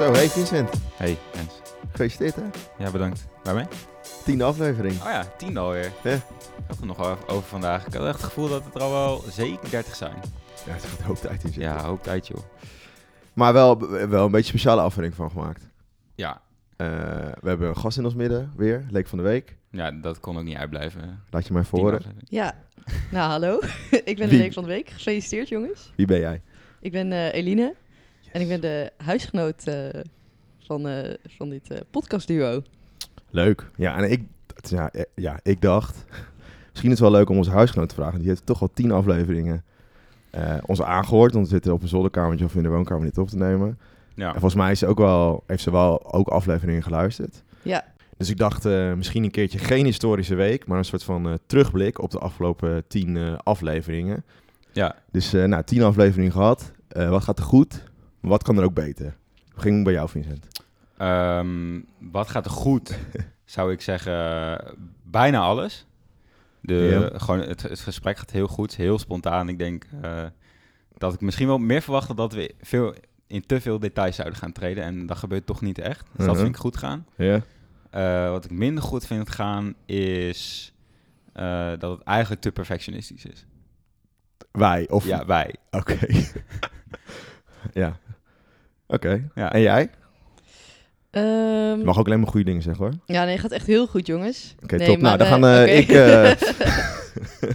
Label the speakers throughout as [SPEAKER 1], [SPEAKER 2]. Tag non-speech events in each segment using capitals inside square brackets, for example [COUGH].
[SPEAKER 1] Vincent,
[SPEAKER 2] Hey, Jens.
[SPEAKER 1] gefeliciteerd hè?
[SPEAKER 2] Ja, bedankt. Waarmee?
[SPEAKER 1] Tiende aflevering.
[SPEAKER 2] Oh ja, tien alweer.
[SPEAKER 1] Ja.
[SPEAKER 2] Ik heb er nog wel even over vandaag. Ik had echt het gevoel dat het er al wel zeker 30 zijn.
[SPEAKER 1] Ja, het wordt ook tijd in zitten.
[SPEAKER 2] Ja, hoop tijd joh.
[SPEAKER 1] Maar wel, wel een beetje speciale aflevering van gemaakt.
[SPEAKER 2] Ja.
[SPEAKER 1] Eh, we hebben een gast in ons midden weer, Leek van de Week.
[SPEAKER 2] ja, dat kon ook niet uitblijven.
[SPEAKER 1] Laat je maar even
[SPEAKER 2] Tien
[SPEAKER 1] horen.
[SPEAKER 2] afleveringen.
[SPEAKER 3] Ja, nou hallo. [LAUGHS] ik
[SPEAKER 1] Wie?
[SPEAKER 3] ben de Leek van de Week. Gefeliciteerd jongens.
[SPEAKER 1] Wie ben jij?
[SPEAKER 3] Ik ben eh, Eline en ik ben de huisgenoot eh, van, eh, van dit eh, podcastduo.
[SPEAKER 1] Leuk. Ja, en ik, het- ja, eh, ja, ik dacht, misschien is het wel leuk om onze huisgenoot te vragen. Die heeft toch al tien afleveringen eh, ons aangehoord. Want we zitten op een zolderkamertje of in de woonkamer dit op te nemen.
[SPEAKER 2] Ja.
[SPEAKER 1] En volgens mij is ze ook wel, heeft ze wel ook afleveringen geluisterd.
[SPEAKER 3] Ja.
[SPEAKER 1] Dus ik dacht eh, misschien een keertje geen historische week, maar een soort van eh, terugblik op de afgelopen tien eh, afleveringen.
[SPEAKER 2] ja.
[SPEAKER 1] Dus eh nou, tien afleveringen gehad. Eh, wat gaat er goed? Wat kan er ook beter? We gingen bij jou, Vincent.
[SPEAKER 2] Ehm, wat gaat er [LAUGHS] goed? Zou ik zeggen, bijna alles. De,
[SPEAKER 1] Ja.
[SPEAKER 2] gewoon, het, het gesprek gaat heel goed, heel spontaan. Ik denk eh, dat ik misschien wel meer verwachtte dat we veel, in te veel details zouden gaan treden. En dat gebeurt toch niet echt. Dus dat
[SPEAKER 1] Mhm.
[SPEAKER 2] vind ik goed gaan.
[SPEAKER 1] Ja?
[SPEAKER 2] Eh, wat ik minder goed vind gaan is eh, dat het eigenlijk te perfectionistisch is.
[SPEAKER 1] Wij? Of...
[SPEAKER 2] Ja, wij.
[SPEAKER 1] [LAUGHS] Oké. [LAUGHS] ja. Oké.
[SPEAKER 2] Ja.
[SPEAKER 1] En jij?
[SPEAKER 3] Ehm,
[SPEAKER 1] Je mag ook alleen maar goede dingen zeggen hoor.
[SPEAKER 3] Ja, nee, gaat echt heel goed jongens.
[SPEAKER 1] Oké,
[SPEAKER 3] nee,
[SPEAKER 1] top. Nou, dan
[SPEAKER 3] maar,
[SPEAKER 1] gaan
[SPEAKER 3] eh,
[SPEAKER 1] eh,
[SPEAKER 3] oké.
[SPEAKER 1] ik...
[SPEAKER 3] [LAUGHS]
[SPEAKER 1] eh,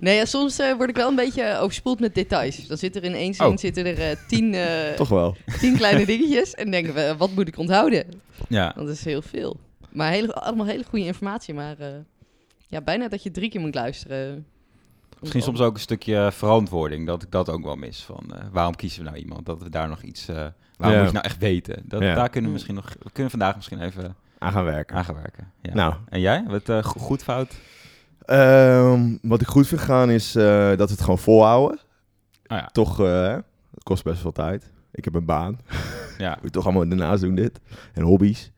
[SPEAKER 3] Nee, ja, soms eh, word ik wel een beetje overspoeld met details. Dan zit er in één zin
[SPEAKER 2] Oh.
[SPEAKER 3] zitten er eh, tien, eh,
[SPEAKER 1] [LAUGHS] toch wel.
[SPEAKER 3] tien kleine dingetjes en denken we, eh, wat moet ik onthouden?
[SPEAKER 2] Ja,
[SPEAKER 3] Dat is heel veel. Maar hele, allemaal hele goede informatie, maar eh, ja, bijna dat je drie keer moet luisteren.
[SPEAKER 2] misschien
[SPEAKER 3] Om-
[SPEAKER 2] soms ook een stukje verantwoording, dat ik dat ook wel mis. Van, eh, waarom kiezen we nou iemand? Dat we daar nog iets... eh,
[SPEAKER 1] Ja.
[SPEAKER 2] waarom moet je nou echt weten? Dat,
[SPEAKER 1] Ja.
[SPEAKER 2] Daar kunnen we
[SPEAKER 3] Mm.
[SPEAKER 2] misschien nog... We kunnen vandaag misschien even
[SPEAKER 1] Aan gaan werken.
[SPEAKER 2] aan gaan werken. Ja.
[SPEAKER 1] Nou,
[SPEAKER 2] En jij? Wat eh, go- goed fout?
[SPEAKER 1] Ehm, wat ik goed vind gaan is eh, dat we het gewoon volhouden.
[SPEAKER 2] Ah ja.
[SPEAKER 1] Toch, eh, het kost best veel tijd. Ik heb een baan. [LAUGHS]
[SPEAKER 2] Ja.
[SPEAKER 1] Moet ik toch allemaal daarnaast doen dit. En hobby's.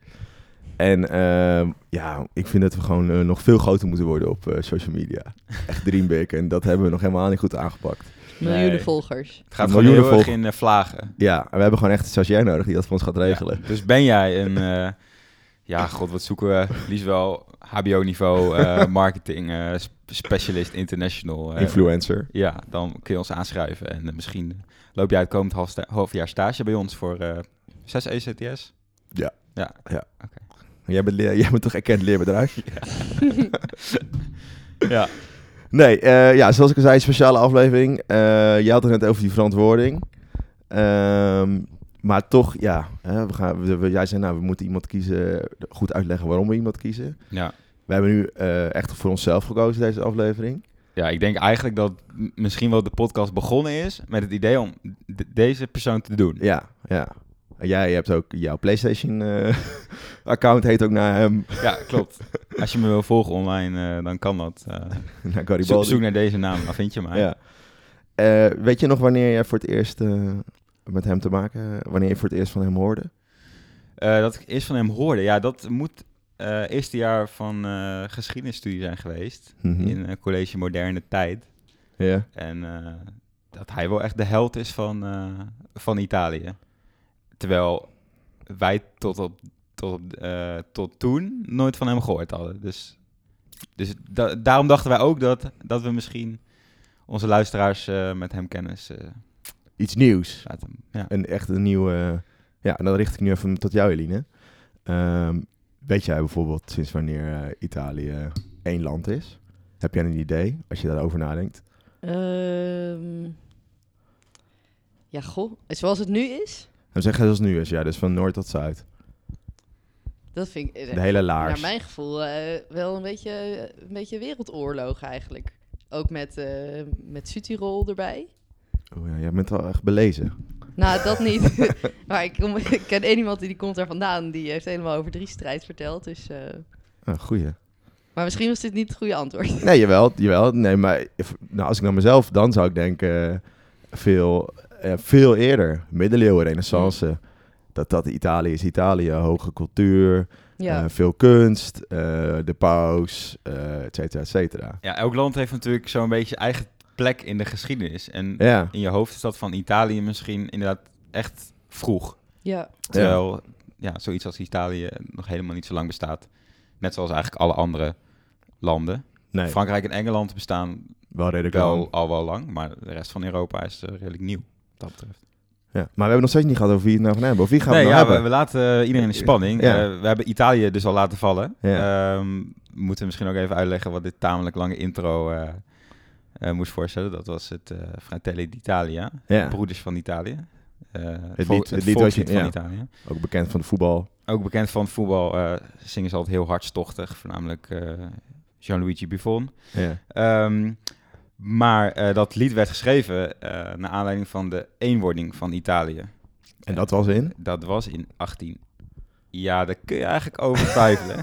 [SPEAKER 1] En ehm, ja, ik vind dat we gewoon eh, nog veel groter moeten worden op eh, social media.
[SPEAKER 2] [LAUGHS]
[SPEAKER 1] Echt dreambig. En dat hebben we nog helemaal niet goed aangepakt.
[SPEAKER 3] Miljoenen
[SPEAKER 2] Nee.
[SPEAKER 3] volgers.
[SPEAKER 2] Het gaat gewoon
[SPEAKER 1] Miljoenen
[SPEAKER 2] heel erg
[SPEAKER 1] volg-
[SPEAKER 2] in eh, vlagen.
[SPEAKER 1] Ja, en we hebben gewoon echt een stagiair nodig die dat voor ons gaat regelen.
[SPEAKER 2] Ja. Dus ben jij een... eh, ja, god, wat zoeken we? Liefst wel
[SPEAKER 1] [LAUGHS]
[SPEAKER 2] HBO-niveau eh, marketing eh, sp- specialist international. eh,
[SPEAKER 1] Influencer.
[SPEAKER 2] Ja, dan kun je ons aanschrijven. En eh, misschien loop jij het komend half sta- half jaar stage bij ons voor eh 6 ECTS.
[SPEAKER 1] Jij bent, leer- jij bent toch erkend leerbedrijf?
[SPEAKER 2] Ja.
[SPEAKER 1] Nee, eh, ja, zoals ik al zei, speciale aflevering. Eh jij had het net over die verantwoording. Ehm, maar toch, ja. Hè, we gaan, we, we- jij zei, nou, we moeten iemand kiezen. Goed uitleggen waarom we iemand kiezen.
[SPEAKER 2] ja.
[SPEAKER 1] We hebben nu eh, echt voor onszelf gekozen deze aflevering.
[SPEAKER 2] Ja, ik denk eigenlijk dat m- misschien wel de podcast begonnen is met het idee om d- deze persoon te doen.
[SPEAKER 1] Ja, ja. En Jij hebt ook jouw [LAUGHS] PlayStation-account, heet ook naar ehm, hem.
[SPEAKER 2] Ja, klopt. [LAUGHS] Als je me wil volgen online, eh, dan kan dat. eh.
[SPEAKER 1] [LAUGHS] Naar
[SPEAKER 2] zoek,
[SPEAKER 1] Garibaldi.
[SPEAKER 2] zoek naar deze naam, dan vind je mij.
[SPEAKER 1] ja. Eh, weet je nog wanneer jij voor het eerst eh, met hem te maken, wanneer je voor het eerst van hem hoorde?
[SPEAKER 2] Eh, dat ik eerst van hem hoorde. Ja, dat moet eh eerste jaar van eh, geschiedenisstudie zijn geweest.
[SPEAKER 1] Mhm.
[SPEAKER 2] In eh, college moderne tijd.
[SPEAKER 1] Ja.
[SPEAKER 2] En eh, dat hij wel echt de held is van, eh, van Italië. Terwijl wij tot, op, tot, op, eh, tot toen nooit van hem gehoord hadden. Dus, dus da- daarom dachten wij ook dat, dat we misschien onze luisteraars eh, met hem kennis eh,
[SPEAKER 1] Iets nieuws.
[SPEAKER 2] laten. Ja.
[SPEAKER 1] een echt een nieuwe. Ja, en dan richt ik nu even tot jou, Eline. Ehm, weet jij bijvoorbeeld sinds wanneer eh, Italië één land is? Heb jij een idee als je daarover nadenkt?
[SPEAKER 3] Ehm, ja, goh. Zoals het nu is,
[SPEAKER 1] Dan zeg je zoals het nu is, ja, dus van noord tot zuid.
[SPEAKER 3] dat vind ik eh,
[SPEAKER 1] De hele
[SPEAKER 3] naar
[SPEAKER 1] laars.
[SPEAKER 3] mijn gevoel eh, wel een beetje, eh, een beetje wereldoorlog eigenlijk. Ook met, eh met Südtirol erbij.
[SPEAKER 1] Oh ja, jij bent wel echt belezen.
[SPEAKER 3] Nou, dat
[SPEAKER 2] [LAUGHS]
[SPEAKER 3] niet. maar ik, kom, ik ken één iemand die, die komt daar vandaan. Die heeft helemaal over drie strijd verteld. Dus, eh,
[SPEAKER 1] Ah, goeie.
[SPEAKER 3] maar misschien was dit niet het goede antwoord.
[SPEAKER 1] Nee, jawel, jawel. Nee, maar if- nou, als ik naar mezelf, dan zou ik denken eh, veel, eh, veel eerder. Middeleeuwen, renaissance. Dat dat Italië is Italië, hoge cultuur.
[SPEAKER 3] Ja.
[SPEAKER 1] Eh, veel kunst, eh, de paus, eh et cetera, et cetera.
[SPEAKER 2] ja, elk land heeft natuurlijk zo'n beetje eigen plek in de geschiedenis. En
[SPEAKER 1] Ja,
[SPEAKER 2] in je hoofd is dat van Italië misschien inderdaad echt vroeg.
[SPEAKER 3] Ja.
[SPEAKER 2] Terwijl ja, zoiets als Italië nog helemaal niet zo lang bestaat. Net zoals eigenlijk alle andere landen.
[SPEAKER 1] Nee,
[SPEAKER 2] Frankrijk en Engeland bestaan
[SPEAKER 1] wel redelijk
[SPEAKER 2] wel
[SPEAKER 1] lang.
[SPEAKER 2] al wel lang, maar de rest van Europa is eh, redelijk nieuw. Wat dat betreft.
[SPEAKER 1] Ja. Maar we hebben nog steeds niet gehad over wie het nou gaan hebben. Of wie gaan we
[SPEAKER 2] nee,
[SPEAKER 1] nou
[SPEAKER 2] ja, we,
[SPEAKER 1] hebben?
[SPEAKER 2] we laten eh, iedereen in de spanning.
[SPEAKER 1] Ja.
[SPEAKER 2] Eh, we hebben Italië dus al laten vallen. Ehm, we moeten misschien ook even uitleggen wat dit tamelijk lange intro eh, eh, moest voorstellen. Dat was het eh, Fratelli d'Italia,
[SPEAKER 1] Ja,
[SPEAKER 2] Broeders van Italië. Eh,
[SPEAKER 1] lied-
[SPEAKER 2] volk-
[SPEAKER 1] het lied wat je-
[SPEAKER 2] volkslied van
[SPEAKER 1] ja.
[SPEAKER 2] Italië.
[SPEAKER 1] ook bekend van de voetbal.
[SPEAKER 2] Ook bekend van het voetbal eh, zingen ze altijd heel hartstochtig, voornamelijk eh Gianluigi Buffon.
[SPEAKER 1] Ja.
[SPEAKER 2] Ehm, maar eh, dat lied werd geschreven eh, naar aanleiding van de eenwording van Italië.
[SPEAKER 1] En dat was in?
[SPEAKER 2] Dat was in 18. Ja, daar kun je eigenlijk
[SPEAKER 1] [LAUGHS]
[SPEAKER 2] over twijfelen.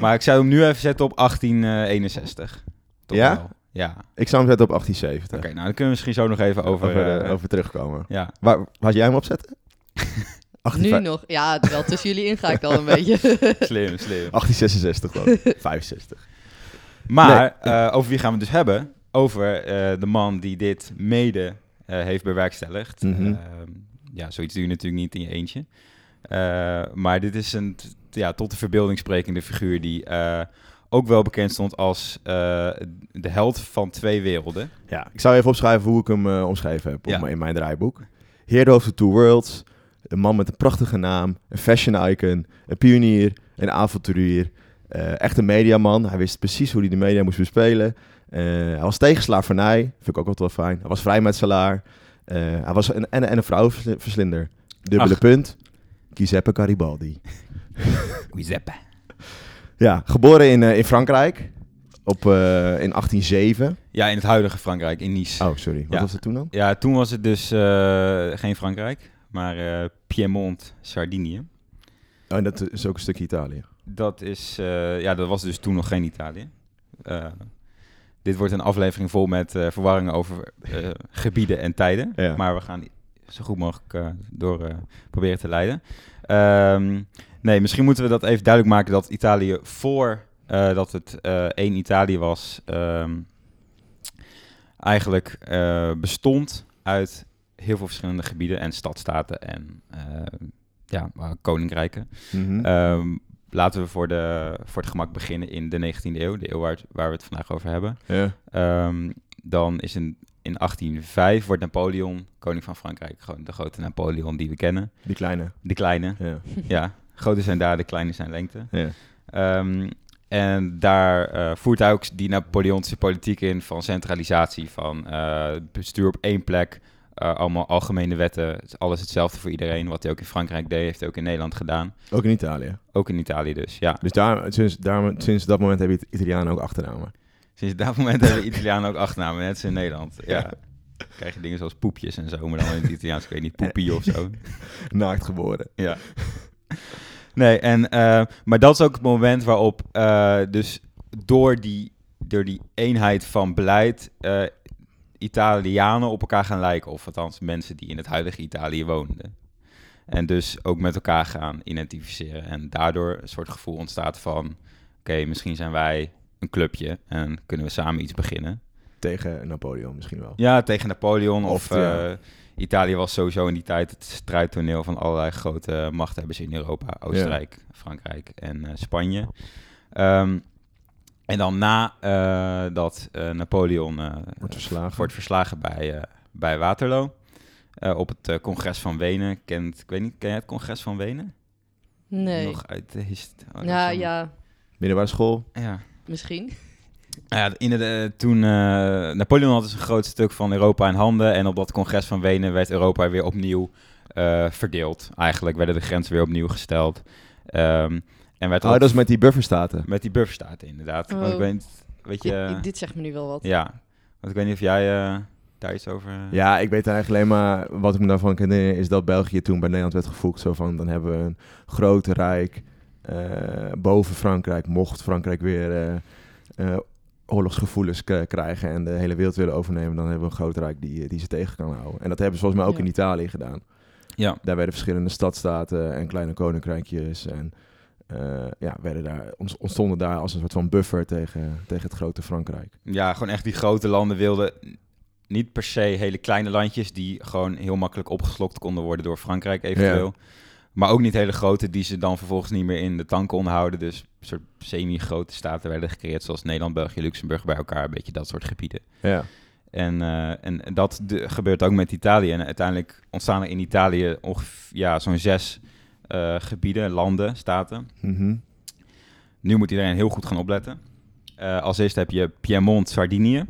[SPEAKER 2] maar ik zou hem nu even zetten op 1861. Toch
[SPEAKER 1] Ja?
[SPEAKER 2] wel. Ja. Oké,
[SPEAKER 1] Ik zou hem zetten op 1870.
[SPEAKER 2] nou dan kunnen we misschien zo nog even over...
[SPEAKER 1] Over, de-
[SPEAKER 2] eh,
[SPEAKER 1] over terugkomen. [LAUGHS]
[SPEAKER 2] Ja,
[SPEAKER 1] Waar, waar jij hem op zetten?
[SPEAKER 3] [LAUGHS] Nu nog. Ja, wel tussen jullie in ga ik al een beetje.
[SPEAKER 2] slim, slim.
[SPEAKER 1] 1866 dan.
[SPEAKER 3] [LAUGHS]
[SPEAKER 1] 65.
[SPEAKER 2] Maar eh, over wie gaan we het dus hebben? Over eh, de man die dit mede eh, heeft bewerkstelligd.
[SPEAKER 1] Mhm.
[SPEAKER 2] Ehm, ja, zoiets doe je natuurlijk niet in je eentje. Eh, maar dit is een t- ja, tot de verbeelding sprekende figuur die eh, ook wel bekend stond als eh, de held van twee werelden.
[SPEAKER 1] Ja, ik zou even opschrijven hoe ik hem eh, omschreven heb op
[SPEAKER 2] Ja.
[SPEAKER 1] mijn- in mijn draaiboek. Hero of the Two Worlds. Een man met een prachtige naam. Een fashion icon. Een pionier. Een avonturier. eh, echt een mediaman. Hij wist precies hoe hij de media moest bespelen. Eh, hij was tegen slavernij. Vind ik ook altijd wel fijn. Hij was vrijmetselaar. Eh hij was een, en, en een vrouwenverslinder. Dubbele
[SPEAKER 2] Ach.
[SPEAKER 1] punt. Giuseppe Garibaldi.
[SPEAKER 2] Giuseppe.
[SPEAKER 1] Ja, geboren in, eh, in Frankrijk. Op, eh, in 1807.
[SPEAKER 2] Ja, in het huidige Frankrijk, in Nice.
[SPEAKER 1] Oh, sorry. Wat
[SPEAKER 2] Ja.
[SPEAKER 1] was het toen dan?
[SPEAKER 2] Ja, toen was het dus eh, geen Frankrijk, maar eh, Piemont, Sardinië.
[SPEAKER 1] Oh, en dat is ook een stukje Italië.
[SPEAKER 2] Dat is, eh, ja, dat was dus toen nog geen Italië. Eh, dit wordt een aflevering vol met eh, verwarringen over eh, gebieden en tijden.
[SPEAKER 1] Ja.
[SPEAKER 2] Maar we gaan zo goed mogelijk eh, door eh, proberen te leiden. Ehm, nee, misschien moeten we dat even duidelijk maken dat Italië voor eh, dat het eh, één Italië was, ehm, eigenlijk eh, bestond uit heel veel verschillende gebieden en stadstaten en eh, ja, eh, koninkrijken.
[SPEAKER 1] Mhm.
[SPEAKER 2] Ehm, laten we voor, de, voor het gemak beginnen in de 19e eeuw, de eeuw waar, het- waar we het vandaag over hebben.
[SPEAKER 1] ja.
[SPEAKER 2] Ehm, dan is in, in 1805 wordt Napoleon koning van Frankrijk. Gewoon de grote Napoleon die we kennen.
[SPEAKER 1] Die kleine.
[SPEAKER 2] De kleine,
[SPEAKER 1] Ja.
[SPEAKER 2] ja. Grote zijn daar, de kleine zijn lengte.
[SPEAKER 1] Ja.
[SPEAKER 2] Ehm, en daar eh, voert hij ook die Napoleontische politiek in van centralisatie, van eh, bestuur op één plek, eh, allemaal algemene wetten, Het is alles hetzelfde voor iedereen. Wat hij ook in Frankrijk deed, heeft hij ook in Nederland gedaan.
[SPEAKER 1] Ook in Italië.
[SPEAKER 2] Ook in Italië dus, ja.
[SPEAKER 1] Dus daar, sinds, daar, sinds dat moment hebben It- Italianen ook achternamen.
[SPEAKER 2] Sinds dat moment hebben Italianen ook achternamen, net als in Nederland. Ja. Dan krijg je dingen zoals poepjes en zo, maar dan in het Italiaans, ik weet niet, poepie of zo.
[SPEAKER 1] Naakt geboren.
[SPEAKER 2] Ja. Nee, en, eh, maar dat is ook het moment waarop eh, dus door die, door die eenheid van beleid eh, Italianen op elkaar gaan lijken. Of althans mensen die in het huidige Italië woonden. En dus ook met elkaar gaan identificeren. En daardoor een soort gevoel ontstaat van... oké, misschien zijn wij een clubje en kunnen we samen iets beginnen.
[SPEAKER 1] Tegen Napoleon misschien wel.
[SPEAKER 2] Ja, tegen Napoleon. Of,
[SPEAKER 1] Of, ja.
[SPEAKER 2] eh, Italië was sowieso in die tijd het strijdtoneel van allerlei grote machthebbers in Europa. Oostenrijk, Frankrijk en eh, Spanje. Ehm, en dan na eh, dat eh, Napoleon eh,
[SPEAKER 1] Wordt verslagen.
[SPEAKER 2] wordt verslagen bij, eh, bij Waterloo. eh, op het eh, congres van Wenen. Kent, ik weet niet, ken jij het congres van Wenen?
[SPEAKER 3] Nee.
[SPEAKER 1] Ah,
[SPEAKER 2] Nog uit de oh, historie.
[SPEAKER 3] nou ja,
[SPEAKER 1] Middelbare school.
[SPEAKER 2] ja.
[SPEAKER 1] [LAUGHS]
[SPEAKER 3] misschien.
[SPEAKER 2] Nou Ja, in de, toen eh, Napoleon had dus een groot stuk van Europa in handen. En op dat congres van Wenen werd Europa weer opnieuw eh, verdeeld. Eigenlijk werden de grenzen weer opnieuw gesteld. Ehm, en werd
[SPEAKER 1] Oh,
[SPEAKER 2] ook
[SPEAKER 1] dat is met die bufferstaten.
[SPEAKER 2] met die bufferstaten inderdaad. Want ik
[SPEAKER 3] Oh.
[SPEAKER 2] weet, niet- weet je...
[SPEAKER 3] Ik- dit zegt me nu wel wat.
[SPEAKER 2] ja, want ik weet niet of jij eh, daar iets over...
[SPEAKER 1] Ja, ik weet eigenlijk alleen maar, wat ik me daarvan kan herinneren, is dat België toen bij Nederland werd gevoegd. Zo van, dan hebben we een groot rijk eh, boven Frankrijk. Mocht Frankrijk weer eh, eh, oorlogsgevoelens k- krijgen en de hele wereld willen overnemen, dan hebben we een groot rijk die, eh, die ze tegen kan houden. En dat hebben ze volgens mij ook
[SPEAKER 3] Ja.
[SPEAKER 1] in Italië gedaan.
[SPEAKER 2] Ja.
[SPEAKER 1] Daar werden verschillende stadstaten en kleine koninkrijkjes en... eh, ja, werden daar, ont- ontstonden daar als een soort van buffer tegen, tegen het grote Frankrijk.
[SPEAKER 2] Ja, gewoon echt die grote landen wilden niet per se hele kleine landjes die gewoon heel makkelijk opgeslokt konden worden door Frankrijk eventueel. Maar ook niet hele grote die ze dan vervolgens niet meer in de tank konden houden. Dus een soort semi-grote staten werden gecreëerd zoals Nederland, België, Luxemburg bij elkaar. Een beetje dat soort gebieden.
[SPEAKER 1] Ja.
[SPEAKER 2] En, eh, en dat de- gebeurt ook met Italië. En uiteindelijk ontstaan er in Italië ongeveer ja, zo'n zes eh, gebieden, landen, staten.
[SPEAKER 1] Mhm.
[SPEAKER 2] Nu moet iedereen heel goed gaan opletten. Eh, als eerste heb je Piemont, Sardinië.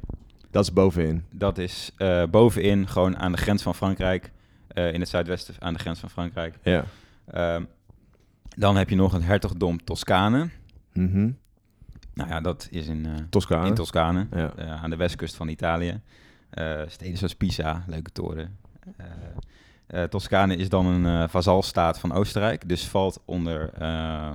[SPEAKER 1] Dat is bovenin.
[SPEAKER 2] Dat is eh, bovenin, gewoon aan de grens van Frankrijk. eh, in het zuidwesten, aan de grens van Frankrijk.
[SPEAKER 1] Ja.
[SPEAKER 2] Ehm, dan heb je nog het hertogdom Toscane.
[SPEAKER 1] Mhm.
[SPEAKER 2] Nou ja, dat is in, eh,
[SPEAKER 1] Toscane.
[SPEAKER 2] in Toscane,
[SPEAKER 1] Ja.
[SPEAKER 2] eh, aan de westkust van Italië. Eh, steden zoals Pisa, leuke toren. Eh, eh, Toscane is dan een eh, vazalstaat van Oostenrijk, dus valt onder, eh,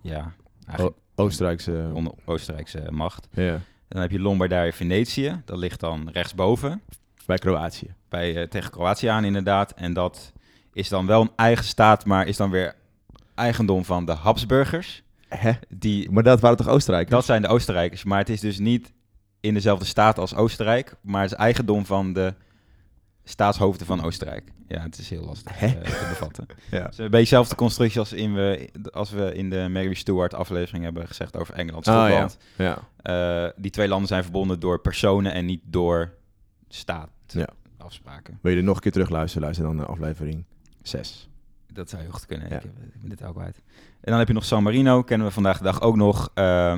[SPEAKER 2] ja, eigenlijk
[SPEAKER 1] Oostenrijkse.
[SPEAKER 2] onder Oostenrijkse macht.
[SPEAKER 1] Ja.
[SPEAKER 2] Dan heb je Lombardije, Venetië, dat ligt dan rechtsboven.
[SPEAKER 1] Bij Kroatië.
[SPEAKER 2] bij, eh, tegen Kroatië aan inderdaad. En dat is dan wel een eigen staat, maar is dan weer eigendom van de Habsburgers.
[SPEAKER 1] Hè?
[SPEAKER 2] Die,
[SPEAKER 1] Maar dat waren toch Oostenrijkers?
[SPEAKER 2] dat zijn de Oostenrijkers, maar het is dus niet in dezelfde staat als Oostenrijk, maar het is eigendom van de staatshoofden van Oostenrijk. Ja, het is heel lastig
[SPEAKER 1] Hè?
[SPEAKER 2] eh, te bevatten.
[SPEAKER 1] Ja.
[SPEAKER 2] Het is een beetje dezelfde constructie als, in we, als we in de Mary Stewart aflevering hebben gezegd over Engeland.
[SPEAKER 1] Ah,
[SPEAKER 2] Schotland.
[SPEAKER 1] Ja.
[SPEAKER 2] Eh, die twee landen zijn verbonden door personen en niet door
[SPEAKER 1] Ja.
[SPEAKER 2] staatafspraken. afspraken.
[SPEAKER 1] Wil je er nog een keer terug luisteren? Luister dan naar aflevering 6.
[SPEAKER 2] Dat zou heel goed kunnen.
[SPEAKER 1] Ja.
[SPEAKER 2] Ik, heb, ik ben dit ook kwijt. En dan heb je nog San Marino, kennen we vandaag de dag ook nog. Eh,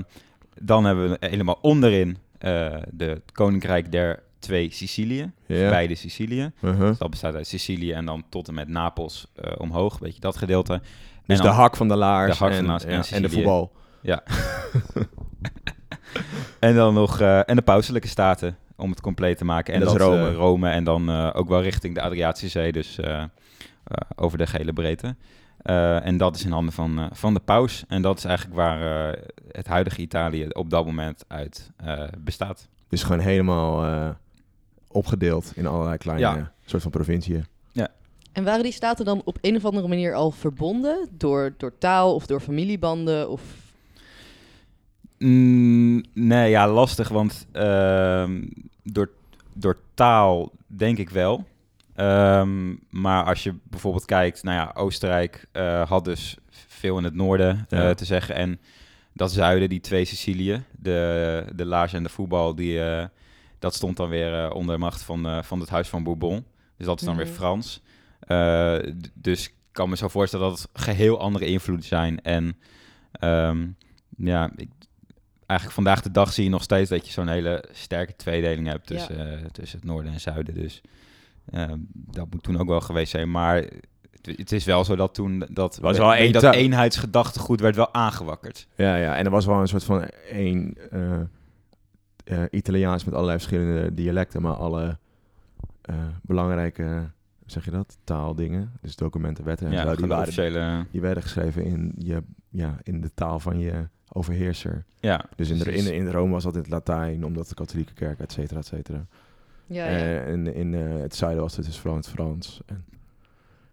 [SPEAKER 2] dan hebben we helemaal onderin eh de Koninkrijk der Twee Sicilië.
[SPEAKER 1] Ja.
[SPEAKER 2] Beide Sicilië.
[SPEAKER 1] Uh-huh.
[SPEAKER 2] Dus dat bestaat uit Sicilië en dan tot en met Napels eh, omhoog. Weet je dat gedeelte.
[SPEAKER 1] Dus
[SPEAKER 2] en
[SPEAKER 1] de
[SPEAKER 2] dan-
[SPEAKER 1] hak van de laars
[SPEAKER 2] de hak van
[SPEAKER 1] en,
[SPEAKER 2] de laars en
[SPEAKER 1] ja, en de
[SPEAKER 2] Sicilië.
[SPEAKER 1] voetbal.
[SPEAKER 2] En dan nog eh, en de pauselijke staten om het compleet te maken. En,
[SPEAKER 1] En dat is
[SPEAKER 2] eh,
[SPEAKER 1] Rome.
[SPEAKER 2] Rome en dan eh, ook wel richting de Adriatische Zee, dus eh, eh, over de gele breedte. Eh, en dat is in handen van, eh, van de paus. En dat is eigenlijk waar eh, het huidige Italië op dat moment uit eh, bestaat.
[SPEAKER 1] Dus gewoon helemaal eh, opgedeeld in allerlei kleine
[SPEAKER 2] Ja.
[SPEAKER 1] soort van provinciën.
[SPEAKER 3] En waren die staten dan op een of andere manier al verbonden? Door, door taal of door familiebanden? Of...
[SPEAKER 2] Mm, nee, ja, lastig, want ehm, door, door taal denk ik wel. Ehm, maar als je bijvoorbeeld kijkt, nou ja, Oostenrijk eh, had dus veel in het noorden eh,
[SPEAKER 1] Ja.
[SPEAKER 2] te zeggen. En dat zuiden, die twee Sicilië, de, de laars en de voetbal, die, eh, dat stond dan weer eh, onder macht van, eh, van het Huis van Bourbon. Dus dat is dan
[SPEAKER 3] Mhm.
[SPEAKER 2] weer Frans. Eh, d- dus ik kan me zo voorstellen dat het geheel andere invloeden zijn. En ehm, ja, ik, eigenlijk vandaag de dag zie je nog steeds dat je zo'n hele sterke tweedeling hebt
[SPEAKER 3] Ja.
[SPEAKER 2] tussen, eh, tussen het noorden en zuiden. Dus ehm, dat moet toen ook wel geweest zijn. Maar het, het is wel zo dat toen dat,
[SPEAKER 1] Was wel
[SPEAKER 2] weet
[SPEAKER 1] één
[SPEAKER 2] dat
[SPEAKER 1] ta-
[SPEAKER 2] eenheidsgedachtegoed werd wel aangewakkerd.
[SPEAKER 1] Ja, ja. En er was wel een soort van één eh, eh, Italiaans met allerlei verschillende dialecten, maar alle eh, belangrijke, hoe zeg je dat, taaldingen, dus documenten, wetten en
[SPEAKER 2] Ja,
[SPEAKER 1] zo, die,
[SPEAKER 2] gewoon de
[SPEAKER 1] waren,
[SPEAKER 2] officiële...
[SPEAKER 1] die werden geschreven in, je, ja, in de taal van je overheerser.
[SPEAKER 2] Ja,
[SPEAKER 1] Dus in, de,
[SPEAKER 2] precies.
[SPEAKER 1] in, in Rome was dat in het Latijn, omdat de katholieke kerk, et cetera, et cetera.
[SPEAKER 3] Ja, ja.
[SPEAKER 1] Eh, en in eh, het zuiden was het dus vooral in het Frans. En